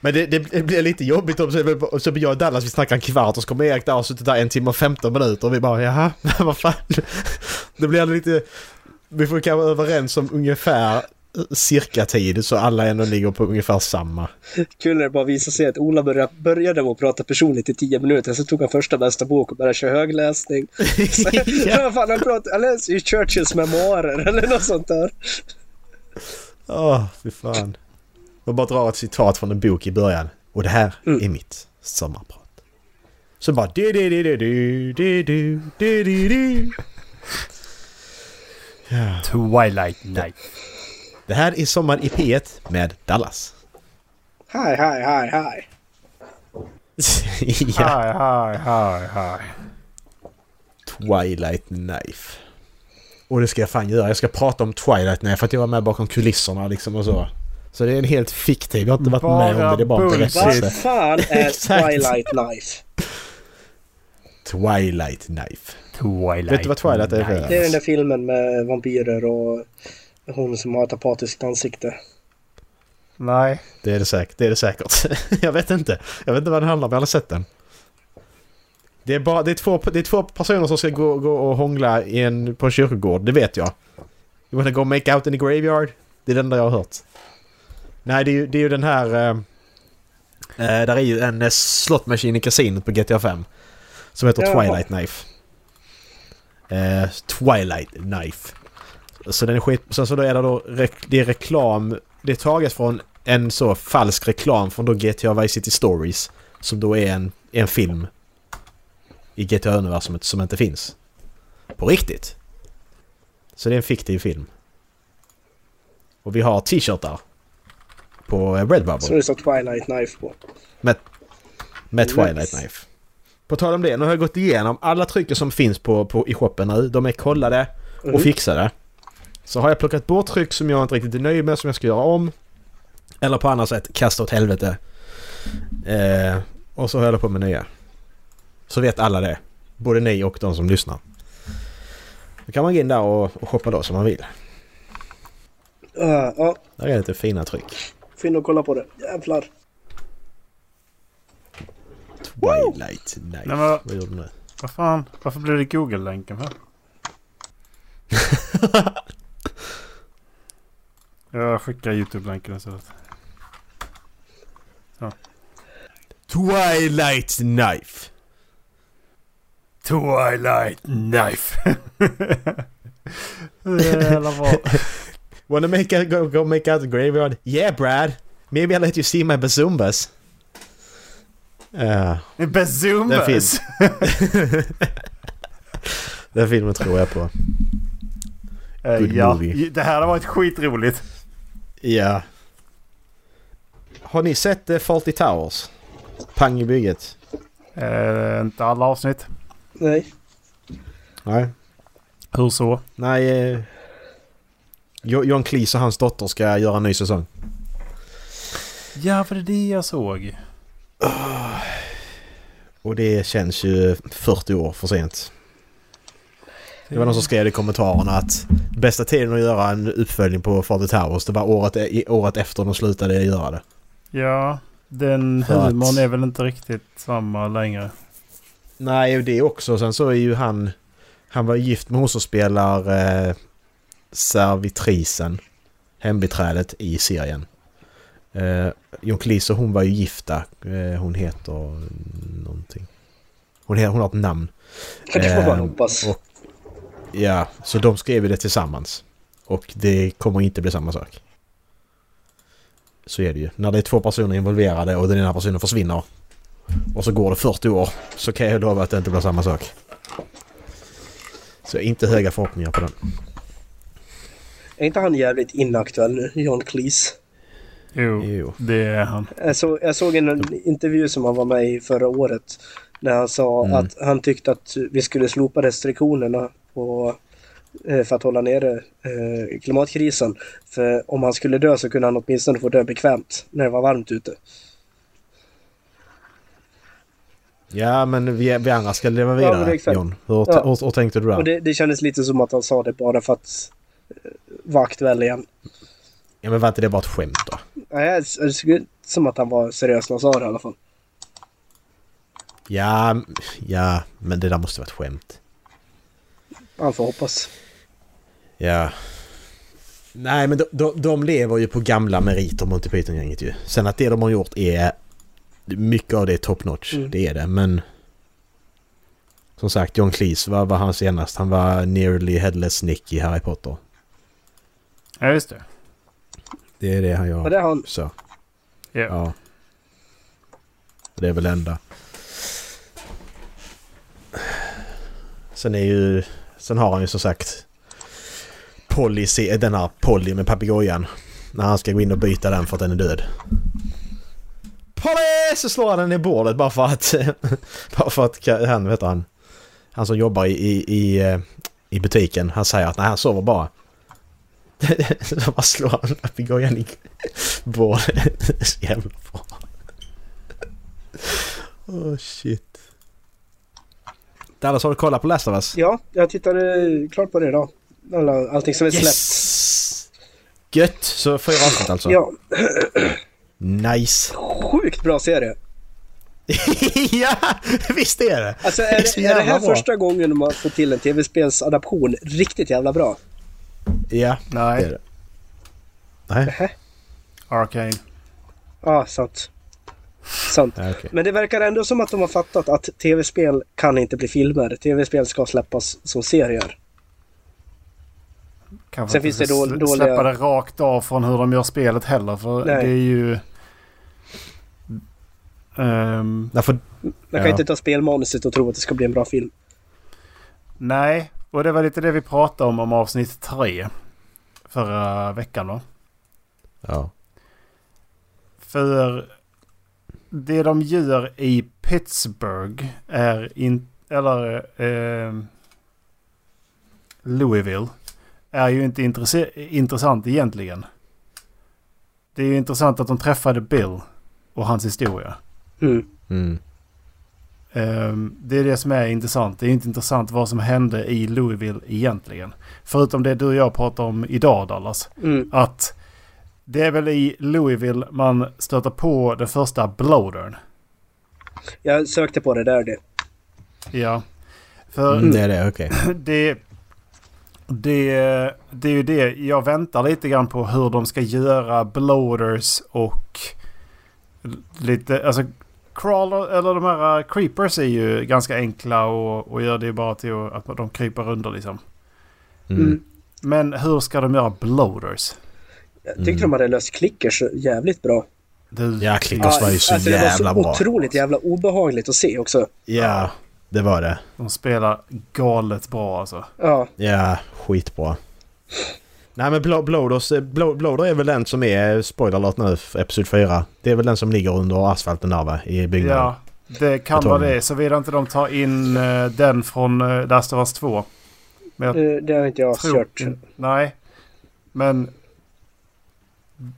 Men det, det, det blir lite jobbigt om så, så jag och Dallas vi snackar en kvart och så kommer Erik där och suttit där en timme och 15 minuter och vi bara jaha, vad fan. Det blir lite... Vi får kanske vara överens om ungefär cirka tid så alla ändå ligger på ungefär samma.
Kul när det bara visade sig att Ola började, började med att prata personligt i tio minuter, sen tog han första bästa bok och började köra högläsning. Sen,
Ja.
vad fan, han, pratade, han läser ju Churchills memoarer eller något sånt där.
Åh, fy fan. Jag bara drar ett citat från en bok i början. Och det här är mitt sommarprat. Så bara... Du, du, du, du, du, du, du, du, du, du.
Twilight Night.
Det här är Sommar i P1 med Dallas.
Hi, hi, hi, hi.
ja.
Hi, hi, hi, hi.
Twilight Knife. Och det ska jag fan göra. Jag ska prata om Twilight Knife för att jag var med bakom kulisserna liksom och så. Så det är en helt fiktiv. Jag har inte varit
Bara
med om det. Det är bara en
bullshit.
berättelse.
Vad fan är
Exakt.
Twilight Knife?
Twilight Knife.
Twilight
Vet du vad Twilight är för?
Night.
Det är den där filmen med vampyrer och hon som har ett apatiskt ansikte.
Nej.
Det är det säkert. Det är det säkert. jag vet inte. Jag vet inte vad den handlar om. Jag har aldrig sett den. Det är, bara, det, är två, det är två personer som ska gå, gå och hångla i en, på en kyrkogård. Det vet jag. You wanna go make out in the graveyard? Det är den där jag har hört. Nej, det är ju, det är ju den här... Eh, eh, där är ju en eh, slot machine i kasinot på GTA 5. Som heter
Jaha.
Twilight Knife. Eh, Twilight Knife. Så den är skit... Sen så då är det då rek- det är reklam... Det är taget från en så falsk reklam från då GTA Vice City Stories. Som då är en, en film i GTA-universumet som inte finns. På riktigt. Så det är en fiktiv film. Och vi har t-shirtar. På eh,
Som
Redbubble.
det står Twilight Knife på.
Med, med Twilight
Nice.
Knife. På tal om det, nu har jag gått igenom alla trycker som finns på, på, i shoppen nu. De är kollade
Mhm.
och fixade. Mm. Så har jag plockat bort tryck som jag inte riktigt är nöjd med som jag ska göra om. Eller på annat sätt kasta åt helvete. Eh, och så håller jag på med nya. Så vet alla det. Både ni och de som lyssnar. Då kan man gå in där och, och shoppa då som man vill.
Ja, Uh, ja.
Där är lite fina tryck.
Få in och kolla på det. Jävlar.
Twilight Knife.
Nej, men-
Vad gjorde du nu?
Vad fan? Varför blev det Google-länken här? Jag skickar YouTube-länken istället.
Twilight Knife.
Twilight Knife. Jävla bra.
Wanna make out, go, go make out the graveyard? Yeah Brad! Maybe I'll let you see my Eh. bazumbas. Ja, Den
Bazoombas.
finns. den filmen tror jag på.
Eh,
Good
ja,
movie.
det här hade varit skitroligt.
Ja. Har ni sett uh, Faulty Towers? Pang i bygget?
Eh, inte alla avsnitt.
Nej.
Nej.
Hur så?
Nej. eh, Jo- John Cleese och hans dotter ska göra en ny säsong.
Ja, för det är det jag såg.
Och det känns ju 40 år för sent. Det var någon som skrev i kommentarerna att bästa tiden att göra en uppföljning på Fader Towers det var året, e- i, året efter de slutade göra det.
Ja, den
För att-
humorn är väl inte riktigt samma längre.
Nej, och det också. Sen så är ju han... Han var gift med hon som spelar eh, servitrisen, hembiträdet i serien. Eh, John Cleese och hon var ju gifta. Eh, hon heter någonting. Hon, he- hon har ett namn.
Det får man
Ehm,
hoppas.
och- Ja, så de skrev ju det tillsammans. Och det kommer inte bli samma sak. Så är det ju. När det är två personer involverade och den ena personen försvinner och så går det 40 år så kan jag lova att det inte blir samma sak. Så jag har inte höga förhoppningar på den.
Är inte han jävligt inaktuell nu? John Cleese.
Jo,
Jo.
det är han.
Jag, så, jag såg en intervju som han var med i förra året. När han sa
Mm.
att han tyckte att vi skulle slopa restriktionerna på, eh, för att hålla nere eh, klimatkrisen. För om han skulle dö så kunde han åtminstone få dö bekvämt när det var varmt ute.
Ja, men vi, vi andra ska leva
Ja, men
vidare,
exakt.
John. Hur,
Ja.
hur, hur tänkte du
Och
där?
det, det kändes lite som att han sa det bara för att eh, vara aktuell igen.
Ja, men var inte det bara ett skämt då?
Nej, det det såg ut som att han var seriös när han sa det i alla fall.
Ja, m- ja, men det där måste vara ett skämt.
Han får hoppas.
Ja. Nej, men de, de, de lever ju på gamla meriter, Monty Python-gänget ju. Sen att det de har gjort är... Mycket av det är top notch,
Mm.
det är det, men... Som sagt, John Cleese, vad var han senast? Han var nearly headless Nick i Harry Potter.
Ja, just det.
Det är det han
Och
gör.
det har han.
Så,
Ja.
ja. Det är väl det enda. Sen är ju... Sen har han ju som sagt... Polly, se- den här Polly med papegojan. När han ska gå in och byta den för att den är död. Polly! Så slår han den i bordet bara för att... eh, bara för att ka- han, vet han... Han som jobbar i, i, i, eh, i butiken, han säger att nej, han sover bara. så bara slår han papegojan i bordet. Det är så jävla bra. Oh shit. Dallas, har du kollat på Last of Us?
Ja, jag tittade klart på det idag. Alla, allting som är släppt.
Yes! Gött! Så fyra avsnitt alltså?
Ja,
Nice!
sjukt bra serie.
ja! Visst är det!
Alltså är
så
det, är det
jävla
här
bra.
första gången man får till en tv-spelsadaption riktigt jävla bra?
Ja, det är
Nej.
det. Nej,
Arcane.
Ja, sant. Sant.
ja, okej.
Men det verkar ändå som att de har fattat att tv-spel kan inte bli filmer. Tv-spel ska släppas som serier.
Kanske
Sen
inte
finns det då-
sl-
dåliga-
Släppa det rakt av från hur de gör spelet heller. För
Nej.
det är ju... Ehm,
Därför...
Man kan
Ja.
inte ta spelmanuset och tro att det ska bli en bra film.
nej, och det var lite det vi pratade om om avsnitt tre. Förra veckan va?
Ja.
För det de gör i Pittsburgh är in, eller eh, Louisville är ju inte intresse- intressant egentligen. Det är ju intressant att de träffade Bill och hans historia.
Mm.
Mm.
Ehm, det är det som är intressant. Det är inte intressant vad som hände i Louisville egentligen. Förutom det du och jag pratar om idag Dallas
Mm.
att det är väl i Louisville man stöter på den första blowdern.
Jag sökte på det där det.
Ja. För
Mm, Det är det, okej.
det, det, det är ju det jag väntar lite grann på hur de ska göra blowders och lite, alltså crawler eller de här eh, creepers är ju ganska enkla och, och gör det bara till att de kryper under liksom.
Mm.
Men hur ska de göra blowders?
Jag tyckte
Mm.
de hade löst klickers jävligt bra.
Du,
Ja, klickers var ju så
alltså, det var så
jävla bra.
otroligt jävla obehagligt att se också.
Ja, det var det.
De spelar galet bra alltså.
Ja,
Ja, skitbra. Nej men Blo- Bloders, eh, Blo- Bloder är väl den som är, spoiler alert nu, f- Episod 4. Det är väl den som ligger under asfalten där va? I byggnaden.
Ja, det kan
Jag tar
vara
den.
det. Såvida inte de tar in eh, den från uh, Last of Us 2. Men jag
eh, det har inte jag
tror...
Mm.
kört.
in- Nej. Men...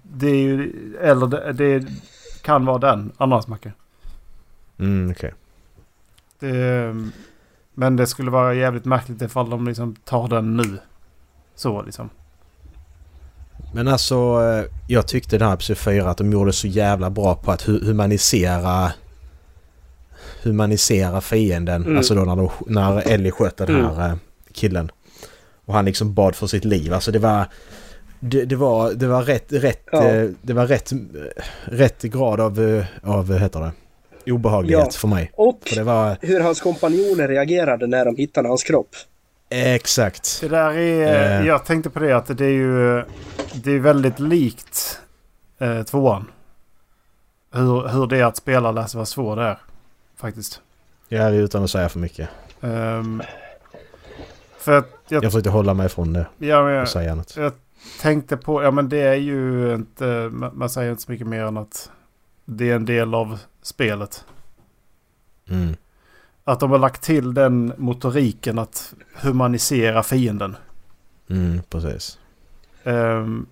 Det är ju... Eller det, det kan vara den. Annars Macke.
Mm, okej.
Det, men det skulle vara jävligt märkligt ifall de liksom tar den nu. Så liksom.
Men alltså, eh, jag tyckte den här Episod 4 att de gjorde så jävla bra på att hu- humanisera humanisera fienden.
Mm.
Alltså då när, de, när Ellie sköt den här eh, killen. Och han liksom bad för sitt liv. Alltså det var... Det, det var, det var rätt, rätt,
Ja.
eh, det var rätt, eh, rätt grad av, eh, av, vad heter det, obehaglighet
Ja.
för mig.
Och
För det var
hur hans kompanjoner reagerade när de hittade hans kropp.
exakt.
Det där är...
Eh.
Jag tänkte på det att det är ju... Det är väldigt likt eh, tvåan. Hur, hur det är att spela Last of Us 2 där. Faktiskt.
Jag är utan att säga för mycket.
Ehm, för att jag,
Jag försökte hålla mig från det
ja, men jag
och säga något.
tänkte på, ja men det är ju inte, ma- man säger inte så mycket mer än att det är en del av spelet.
Mm.
Att de har lagt till den motoriken att humanisera fienden.
Mm, precis.
Ehm,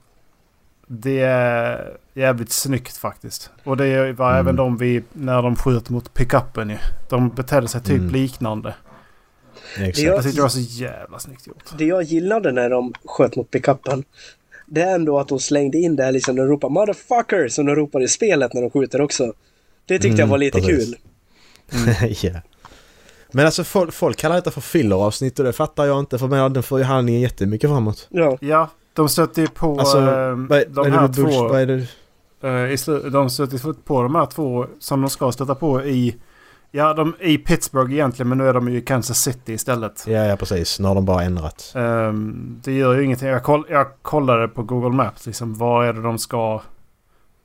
det är jävligt snyggt faktiskt. Och det var
Mm.
även de vi, när de sköt mot pickuppen ju. De betedde sig typ
Mm.
liknande.
Exakt.
Ja.
Jag tyckte det var så jävla snyggt gjort.
Det jag gillade när de sköt mot pickuppen, det är ändå att de slängde in det här liksom, de ropar 'motherfucker' som de ropar i spelet när de skjuter också. Det tyckte jag
Mm,
var lite
precis.
kul.
ja. Men alltså folk, folk kallar detta för filleravsnitt och det fattar jag inte för men den för handlingen jättemycket framåt.
Ja,
Ja, de stötte ju på
Alltså,
ehm,
vad, vad
de
är det
här
med bullshit?
två.
Vad är det?
Eh, i slu- de stötte ju på de här två som de ska stöta på i... Ja, de i Pittsburgh egentligen men nu är de ju i Kansas City istället.
Ja, ja precis. Nu har de bara ändrat.
Ehm, det gör ju ingenting. Jag, koll, jag kollade på Google Maps liksom. Vad är det de ska...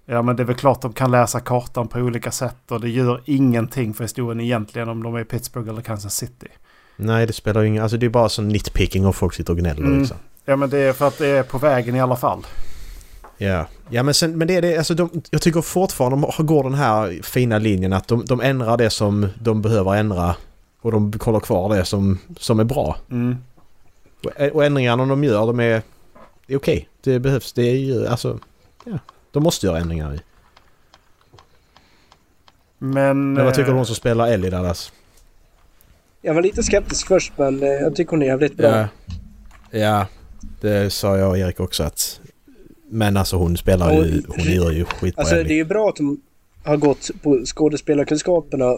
Ja men det är väl klart de kan läsa kartan på olika sätt och det gör ingenting för historien egentligen om de är i Pittsburgh eller Kansas City.
Nej, det spelar ju ingen... Alltså det är bara sån nitpicking och folk sitter och gnäller
Mm.
liksom.
Ja men det är för att det är på vägen i alla fall.
Ja, ja men, sen, men det är det, alltså de, jag tycker fortfarande de går den här fina linjen att de, de ändrar det som de behöver ändra och de kollar kvar det som, som är bra.
Mm.
Och, och ändringarna de gör, de är, det är okej. Det behövs, det är ju, alltså, ja. De måste göra ändringar i.
Men...
Men vad tycker du om
eh,
hon som spelar Ellie Dallas?
Jag var lite skeptisk först men eh, jag tycker hon är jävligt bra.
Ja. ja, det sa jag och Erik också att... Men alltså hon spelar
Och-
ju, hon gör ju skitbra
Alltså det är
Ellie.
ju bra att de har gått på skådespelarkunskaperna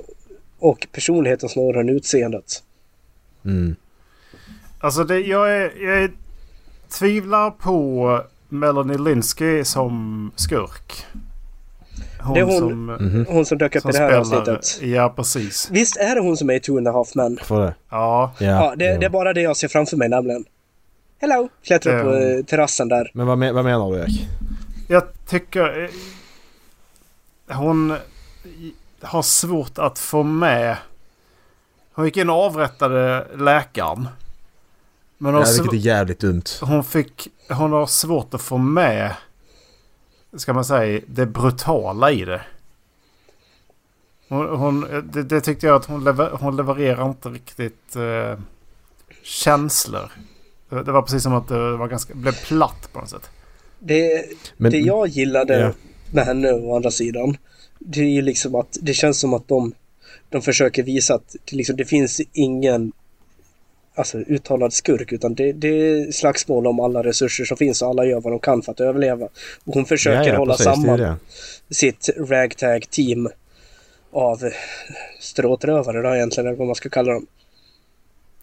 och personligheten snarare än utseendet.
Mm.
Alltså det, jag, är, jag är, tvivlar på Melanie Linsky som skurk. Hon,
Det är hon
som,
Mhm.
Hon som dök upp
som
i det här
spelar...
avsnittet.
Ja precis.
Visst är det hon som är i Two and a half men?
För det?
Ja.
Ja.
Ja, det,
ja.
det är bara det jag ser framför mig nämligen. Hello! Klättrar upp på
Eh.
eh, terrassen där.
Men vad, me- vad menar du Erik?
Jag tycker... eh, Hon i- har svårt att få med... Hon gick in och avrättade läkaren. Men hon, har
Ja,
Alltså-
vilket är
sv-
jävligt dumt.
hon, fick, hon har svårt att få med... Ska man säga det brutala i det. Hon, hon, eh, det, det tyckte jag att hon, lever, hon levererar inte riktigt eh, känslor. Det det var precis som att det var ganska, blev platt på något sätt.
Det,
Men,
det jag gillade
Ja.
med henne å andra sidan, det är ju liksom att det känns som att de, de försöker visa att det, liksom, det finns ingen alltså, uttalad skurk utan det, det är slagsmål om alla resurser som finns och alla gör vad de kan för att överleva. Och hon försöker
Ja, ja,
hålla
precis, det är
samman
det.
sitt ragtag team av stråtrövare då egentligen, eller vad man ska kalla dem.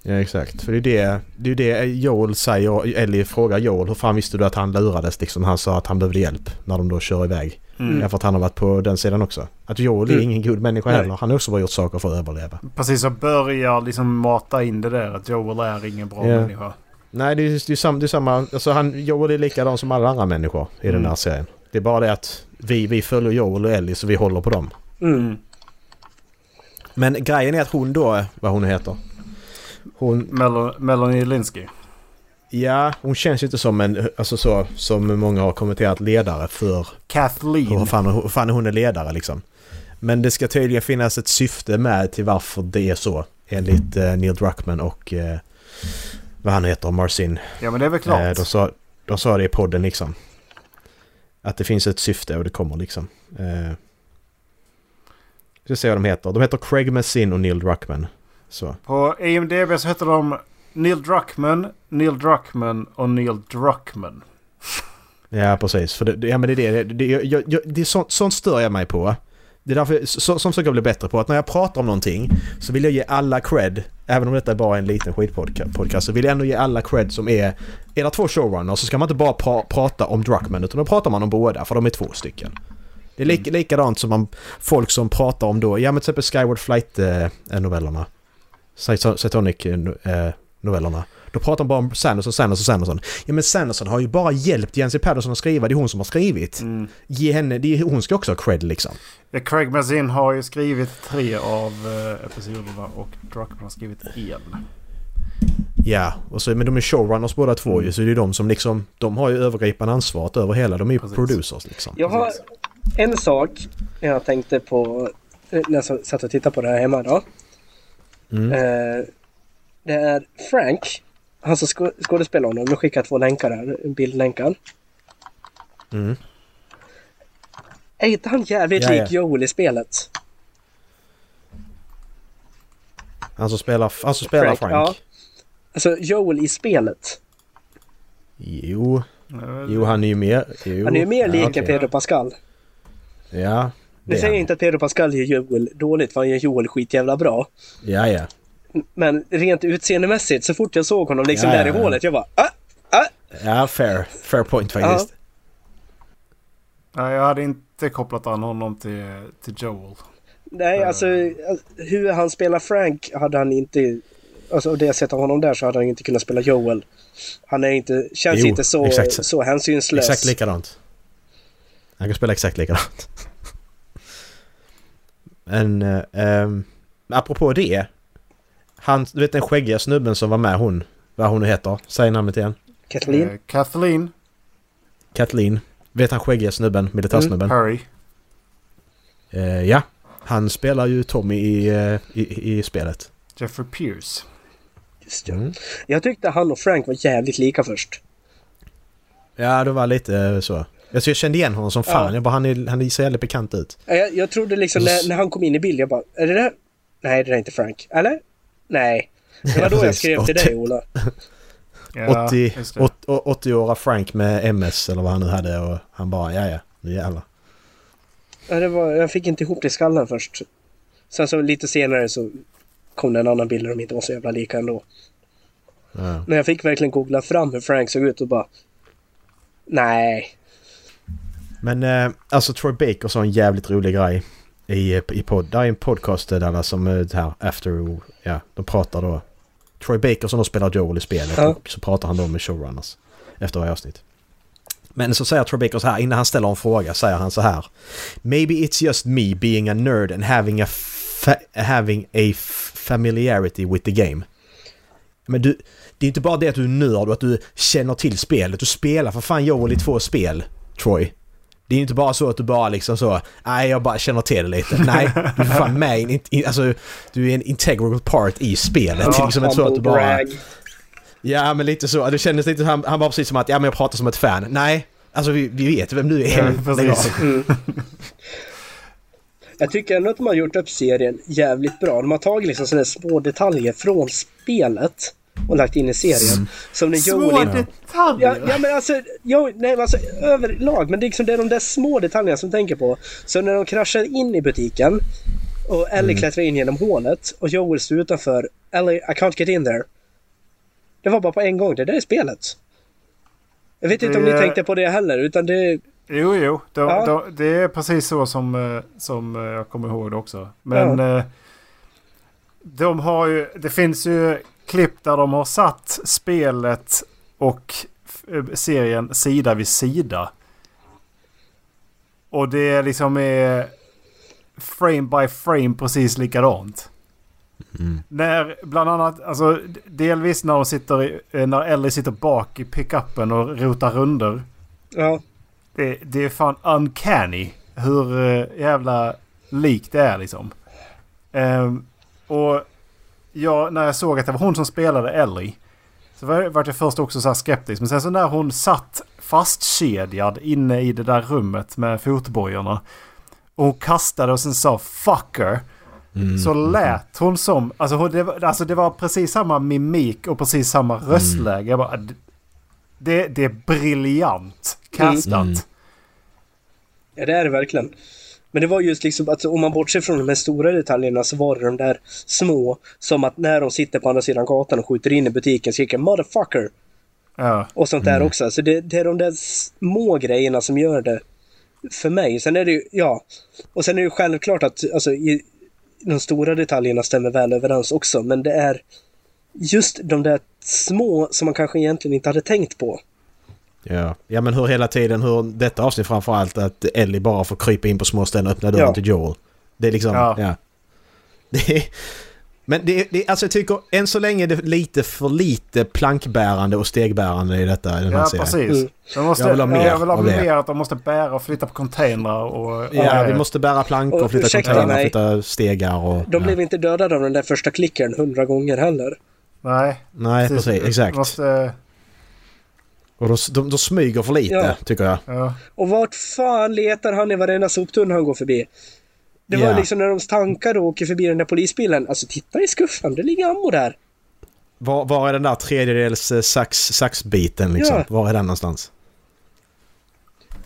Ja exakt. För det är det, det, är det Joel säger. Ellie frågar Joel hur fan visste du att han lurades liksom. Han sa att han behövde hjälp när de då kör iväg.
Mm.
Därför att han har varit på den sidan också. Att Joel är
Mm.
ingen god människa
Nej.
heller. Han har också bara gjort saker för att överleva.
Precis, och börjar liksom mata in det där att Joel är ingen bra
Ja.
människa.
Nej det är ju det är ju sam, det är samma. Alltså han, Joel är likadan som alla andra människor i den här
Mm.
serien. Det är bara det att vi, vi följer Joel och Ellie så vi håller på dem.
Mm.
Men grejen är att hon då, vad hon heter. Hon,
Mel- Melanie Linsky.
Ja, hon känns ju inte som en, alltså så, som många har kommenterat, ledare för hur
Kathleen.
fan, hur fan hon är ledare liksom. Men det ska tydligen finnas ett syfte med till varför det är så. Enligt eh, Neil Druckmann och eh, vad han heter, Marcin.
Ja men det är väl
Eh,
klart.
de, sa, de sa det i podden liksom. Att det finns ett syfte och det kommer liksom. Eh, ska se vad de heter. De heter Craig Mazin och Neil Druckmann. Så.
På IMDB så heter de Neil Druckmann, Neil Druckmann och Neil Druckmann.
Ja, precis. För det- det, ja, men det är det. det, det, jag- jag, jag, det är sånt, sånt stör jag mig på. Det är därför så, som försöker jag bli bättre på. Att när jag pratar om någonting så vill jag ge alla cred. Även om detta är bara en liten skitpodcast podcast, så vill jag ändå ge alla cred som är... Är det två showrunners så ska man inte bara pra, prata om Druckman utan då pratar man om båda för de är två stycken. Det är lik, likadant som man, folk som pratar om då, ja men till exempel Skyward eh, Flight-novellerna. Satonic-novellerna. Då pratar de bara om Sanderson, Sanderson, Sanderson. Ja men Sanderson har ju bara hjälpt Jensie Patterson att skriva, det är hon som har skrivit.
Mm.
Ge henne, det är, hon ska också ha cred liksom.
Ja, Craig Mazin har ju skrivit tre av eh, episoderna och Druckmann har skrivit en.
Ja, och så, men de är showrunners båda två ju så det är de som liksom, de har ju övergripande ansvaret över hela, de är ju
Precis.
producers liksom.
Jag har
Precis.
en sak jag tänkte på eh, när jag satt och tittade på det här hemma då.
Mm.
Eh, Det är Frank, han som sko- skådespelar honom. Jag skickar två länkar här, bildlänkar.
Mm.
Är inte han jävligt
Ja, ja.
lik Joel i spelet?
Han som spelar, han som spelar
Frank,
Frank.
ja. Alltså Joel i spelet.
Jo,
Eh,
jo han är ju mer... Jo.
Han är ju mer lik
okej.
än Pedro Pascal.
Ja.
Nu
det är
säger jag
han.
inte att Pedro Pascal gör Joel dåligt, för han gör Joel skitjävla bra.
Ja, ja.
Men rent utseendemässigt, så fort jag såg honom liksom
Ja, ja,
där i
ja.
hålet, jag bara ah!
Ja, fair. Fair point faktiskt.
Nej, jag hade inte kopplat an honom till, till Joel.
Nej,
Eh.
alltså hur han spelar Frank hade han inte... Alltså av det jag sett av honom där så hade han inte kunnat spela Joel. Han är inte, känns
Jo,
inte så,
exakt.
så hänsynslös.
Exakt likadant. Han kan spela exakt likadant. Men, eh, ehm, apropå det. Han, du vet den skäggiga snubben som var med hon. Vad hon nu heter. Säg namnet igen.
Kathleen?
Eh, Kathleen
Kathleen. Vet han skäggiga snubben? Militärsnubben.
Perry.
Eh, ja. Han spelar ju Tommy i, eh, i, i spelet.
Jeffrey Pierce.
Just
Eh.
ja. Jag tyckte han och Frank var jävligt lika först.
Ja, det var lite eh, så. Alltså, jag kände igen honom som fan.
Ja.
Jag bara, han, är, han ser jävligt bekant ut.
Ja, Jag, jag trodde liksom
Alltså-
när, när han kom in i bild, jag bara, är det där? Nej, det där är inte Frank. Eller? Nej. Det var då jag
precis.
skrev till
Och
dig,
typ-
Ola.
Ja,
80,
just det.
80-åriga Frank med MS eller vad han nu hade och han bara ja ja, nu jävlar.
Ja, det var, jag fick inte ihop det i skallen först. Sen så lite senare så kom det en annan bild där de inte var så jävla lika ändå.
Ja.
Men jag fick verkligen googla fram hur Frank såg ut och bara... Nej.
Men eh, alltså Troy Baker sa en jävligt rolig grej i, eh, i podd. Det är en podcast där alla som är det här after, ja, de pratar då. Troy Baker som då spelar Joel i spelet
Ja.
och så pratar han då med showrunners efter varje avsnitt. Men så säger Troy Baker så här, innan han ställer en fråga säger han så här. Maybe it's just me being a nerd and having a, fa- having a familiarity with the game. Men du, det är inte bara det att du är nörd och att du känner till spelet. Du spelar för fan Joel i två spel, Troy. Det är ju inte bara så att du bara liksom så, nej jag bara känner till det lite. Nej, du är fan med i en in, in, alltså, du är en integral part i spelet. det är liksom inte så att du bara...
Brag.
Ja men lite så, det kändes lite, han, han var precis som att, ja men jag pratar som ett fan. Nej, alltså vi, vi vet vem du är.
Ja,
Lägg av.
precis.
Jag tycker ändå att de har gjort upp serien jävligt bra. De har tagit liksom sådana små detaljer från spelet och lagt in i serien.
Mm.
Som när Joel
Små
inte Ja,
detaljer!
ja men alltså, jo, nej, men alltså överlag, men det är, liksom, det är de där små detaljerna som jag tänker på. Så när de kraschar in i butiken och Ellie klättrar in genom hålet och Joel står utanför. Ellie, I can't get in there. Det var bara på en gång, det där är spelet. Jag vet inte om
Det-
ni tänkte på det heller, utan det...
Jo, jo. De,
Ja.
de, det är precis så som, eh, som eh, jag kommer ihåg det också. Men eh, de har ju, det finns ju klipp där de har satt spelet och f- eh, serien sida vid sida. Och det är liksom är frame by frame precis likadant. När bland annat, alltså d- delvis när, hon sitter i, eh, när Ellie sitter bak i pickuppen och rotar runder.
Ja,
Det, det är fan uncanny hur eh, jävla likt det är liksom. Ehm, och jag, när jag såg att det var hon som spelade Ellie. Så var, vart jag först också så här skeptisk. Men sen så när hon satt fastkedjad inne i det där rummet med fotbojorna. Och hon kastade och sen sa fucker. Så lät hon som... Alltså, hon, det, var- alltså det var precis samma mimik och precis samma röstläge. Jag bara, "D- det, det är briljant castat.
ja, det är det verkligen. Men det var just liksom att om man bortser från de här stora detaljerna så var det de där små. Som att när de sitter på andra sidan gatan och skjuter in i butiken skriker motherfucker.
Ja.
och sånt
Mm.
där också. Så det, det är de där små grejerna som gör det för mig. Sen är det ju, ja. Och sen är det ju självklart att alltså, i, de stora detaljerna stämmer väl överens också. Men det är just de där små som man kanske egentligen inte hade tänkt på.
Ja. ja men hur hela tiden, hur detta avsnitt framförallt att Ellie bara får krypa in på små ställen och öppna dörren
Ja.
till Joel. Det är liksom,
Ja.
ja. Det är, men det, det, alltså jag tycker än så länge är det lite för lite plankbärande och stegbärande i detta i den här
Ja,
serien.
precis.
Mm.
De måste,
Jag vill ha mer
jag vill ha
av det.
mer att de måste bära och flytta på containrar och... och
Ja, vi måste bära plankor,
Och
flytta
ursäkta
containrar,
mig.
flytta stegar och...
De
ja.
blev inte dödade av den där första klickern hundra gånger heller.
Nej,
Nej, precis. exakt.
Vi Måste,
Och de, de, de smyger för lite,
Ja.
tycker jag.
ja.
Och vart fan letar han i varenda soptunna han går förbi? Det var
Ja.
liksom när de tankar och åker förbi den där polisbilen. Alltså titta i skuffen, det ligger ammo där.
Var, var är den där tredjedels eh, sax, saxbiten liksom?
Ja.
Var är den någonstans?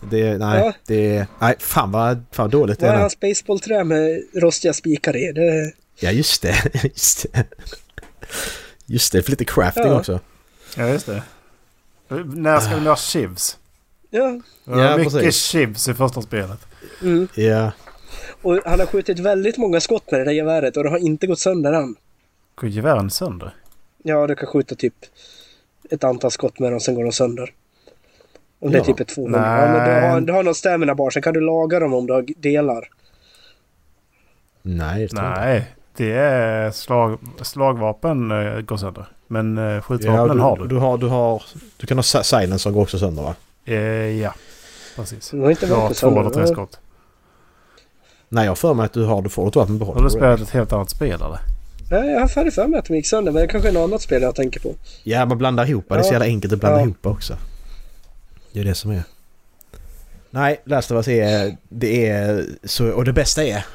Det, nej,
Ja. alltså.
det, nej, fan vad, fan vad dåligt det
Vad är
är. nu.
hans baseballträ med rostiga spikar i? Det...
Ja, just det. Just det. Just det, för lite crafting
Ja.
också.
ja, just det. När ska de göra shivs?
Ja,
Det var
Ja,
mycket
precis.
shivs i första spelet.
mm.
Ja,
och han har skjutit väldigt många skott med det där geväret och det har inte gått sönder än.
Går gevären sönder?
Ja, du kan skjuta typ ett antal skott med dem, sen går de sönder. Om det är
Ja.
typ ett 200. Ja, men du har,
Nej.
du har någon stamina bar, sen kan du laga dem om du har delar.
nej. det tror jag inte.
Nej, 90 är slag, slagvapen eh, går sönder. Men eh, skjutvapen
du,
har du.
Du, har, du, har, du kan ha si- silencer går också sönder va?
Eh, ja, precis.
Mm.
Det var inte
Du har
vapen
två
sönder,
eller tre
va?
skott.
Nej jag har för mig att du har du får ett vapen
Har
behåller
du spelat ett helt annat spel eller?
Nej, jag hade för mig att de gick sönder, men det kanske är något annat spel jag tänker på.
Ja man blandar ihop det. Det är så jävla enkelt att blanda
Ja.
ihop också. Det är det som är. Nej, Last of Us är... Det är så, och det bästa är...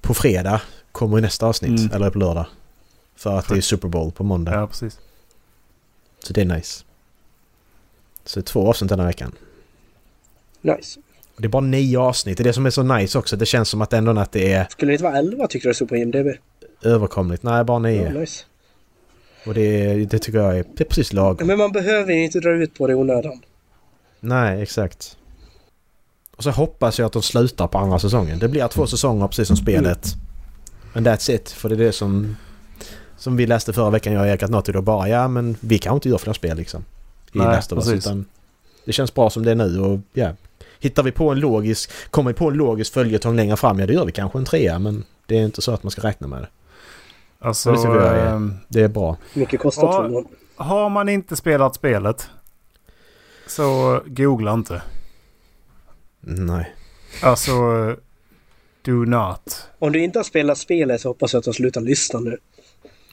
På fredag kommer nästa avsnitt.
Mm.
Eller på lördag. För att det är Super Bowl på måndag.
Ja, precis.
Så det är nice. Så två avsnitt den här veckan.
Nice.
Och Det är bara nio avsnitt. Det är det som är så nice också. Det känns som att ändå att det är
Skulle det inte vara 11 tyckte jag det stod på IMDB?
överkomligt. Nej, bara nio.
Ja, nice.
Och det, är- det tycker jag är, det är precis lagom.
Men man behöver ju inte dra ut på det i onödan.
Nej, exakt. Och så hoppas jag att de slutar på andra säsongen. Det blir två säsonger precis som spelet. Men that's it. För det är det som... Som vi läste förra veckan, jag och Erik, att Naughty Dog bara ja men vi kan inte göra fler spel liksom. I
Nej,
Last of Us,
precis.
utan Det känns bra som det är nu och ja. Hittar vi på en logisk... Kommer vi på en logisk följetong längre fram, ja det gör vi kanske en trea men det är inte så att man ska räkna med det.
Alltså,
Ja, det tycker jag är-
ehm,
Det är bra.
Hur mycket kostar
Ja.
tvåan?
har man inte spelat spelet så googla inte.
Nej.
Alltså, eh, do not.
Om du inte har spelat spelet så hoppas jag att du slutar lyssna nu.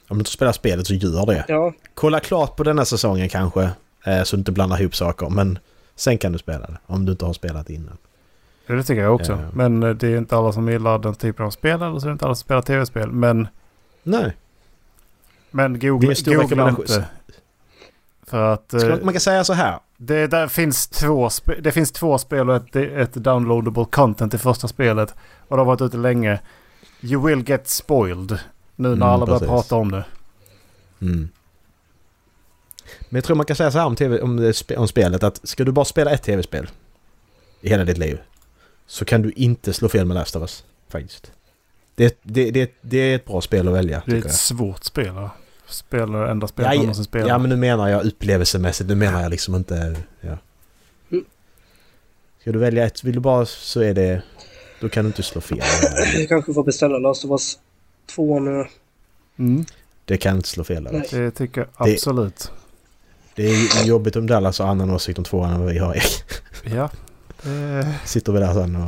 Om du inte spelar spelet så gör det.
Ja,
Kolla klart på denna säsongen kanske. eh, Så du inte blandar ihop saker. Men sen kan du spela det. Om du inte har spelat innan.
Ja, Det tycker jag också.
Ja.
Men eh, det är inte alla som gillar den typen av spel eller så är det inte alla som spelar tv-spel. Men,
Nej.
men
Det är
googla,
en stor
googla
rekommendation.
inte. För att
Ska
eh,
man- Man kan säga så här.
det, där finns två spe, det finns två spel och ett, ett downloadable content i första spelet. Och det har varit ute länge. You will get spoiled. Nu när
Mm,
alla börjar
precis.
prata om det.
Mm. Men jag tror man kan säga så här om, TV, om, det spe- om spelet. Att ska du bara spela ett tv-spel. I hela ditt liv. Så kan du inte slå fel med Last of Us. Faktiskt. Det, det, det, det är ett bra spel att välja.
Det är
tycker
ett
jag.
svårt spel. va? Spelar enda spelet
Ja,
man
ja,
någonsin spelat.
ja men nu menar jag upplevelsemässigt. Nu menar jag liksom inte... Ja.
Mm.
Ska du välja ett, vill du bara så är det... Då kan du inte slå fel.
vi kanske får beställa Last of Us 2 nu.
mm,
Det kan inte slå fel. Alex.
det tycker jag
Det-
absolut.
Det är jobbigt om Dallas har annan åsikt om tvåan än vad vi har.
Ja. Det...
Sitter vi där sen och...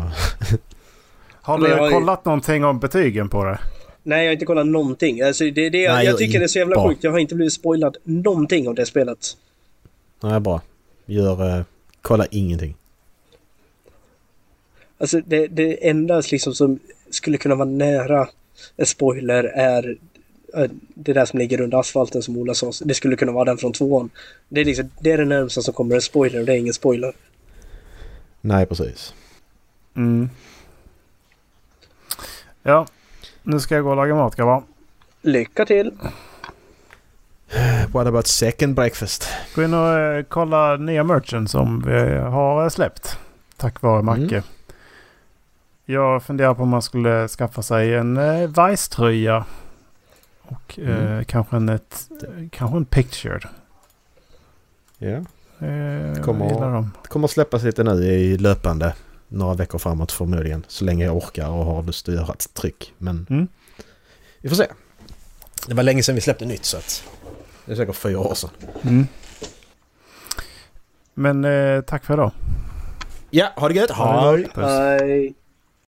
Har
Men jag har
du
ju-
kollat någonting om betygen på det?
Nej, jag har inte kollat någonting. Alltså, det, det,
Nej,
jag
jag
tycker det är så jävla
inte.
sjukt. Jag har inte blivit spoilad någonting av det spelet.
Nej, bra. Gör... Eh, kolla ingenting.
Alltså det, det enda liksom som skulle kunna vara nära en spoiler är eh, det där som ligger under asfalten som Ola sa. Det skulle kunna vara den från tvåan. Det är, liksom, det, är det närmsta som kommer en spoiler och det är ingen spoiler.
Nej, precis.
Mm. Ja, nu ska jag gå och laga mat grabbar.
Lycka till!
What about second breakfast?
Gå in och eh, kolla nya merchen som vi har eh, släppt. Tack vare Macke.
Mm.
Jag funderar på om man skulle skaffa sig en eh, Vice-tröja. Och eh, kanske, en, ett, kanske en picture.
Ja.
Eh,
Kommer-
jag gillar dem.
Det kommer att släppas lite nu i löpande. Några veckor framåt förmodligen. Så länge jag orkar och har lust att göra ett tryck. Men...
Mm.
Vi får se. Det var länge sedan vi släppte nytt så att... Det är säkert fyra år sedan.
Mm. Men eh, tack för idag.
Ja, ha det gött!
Ha det gott. Puss.
Hej!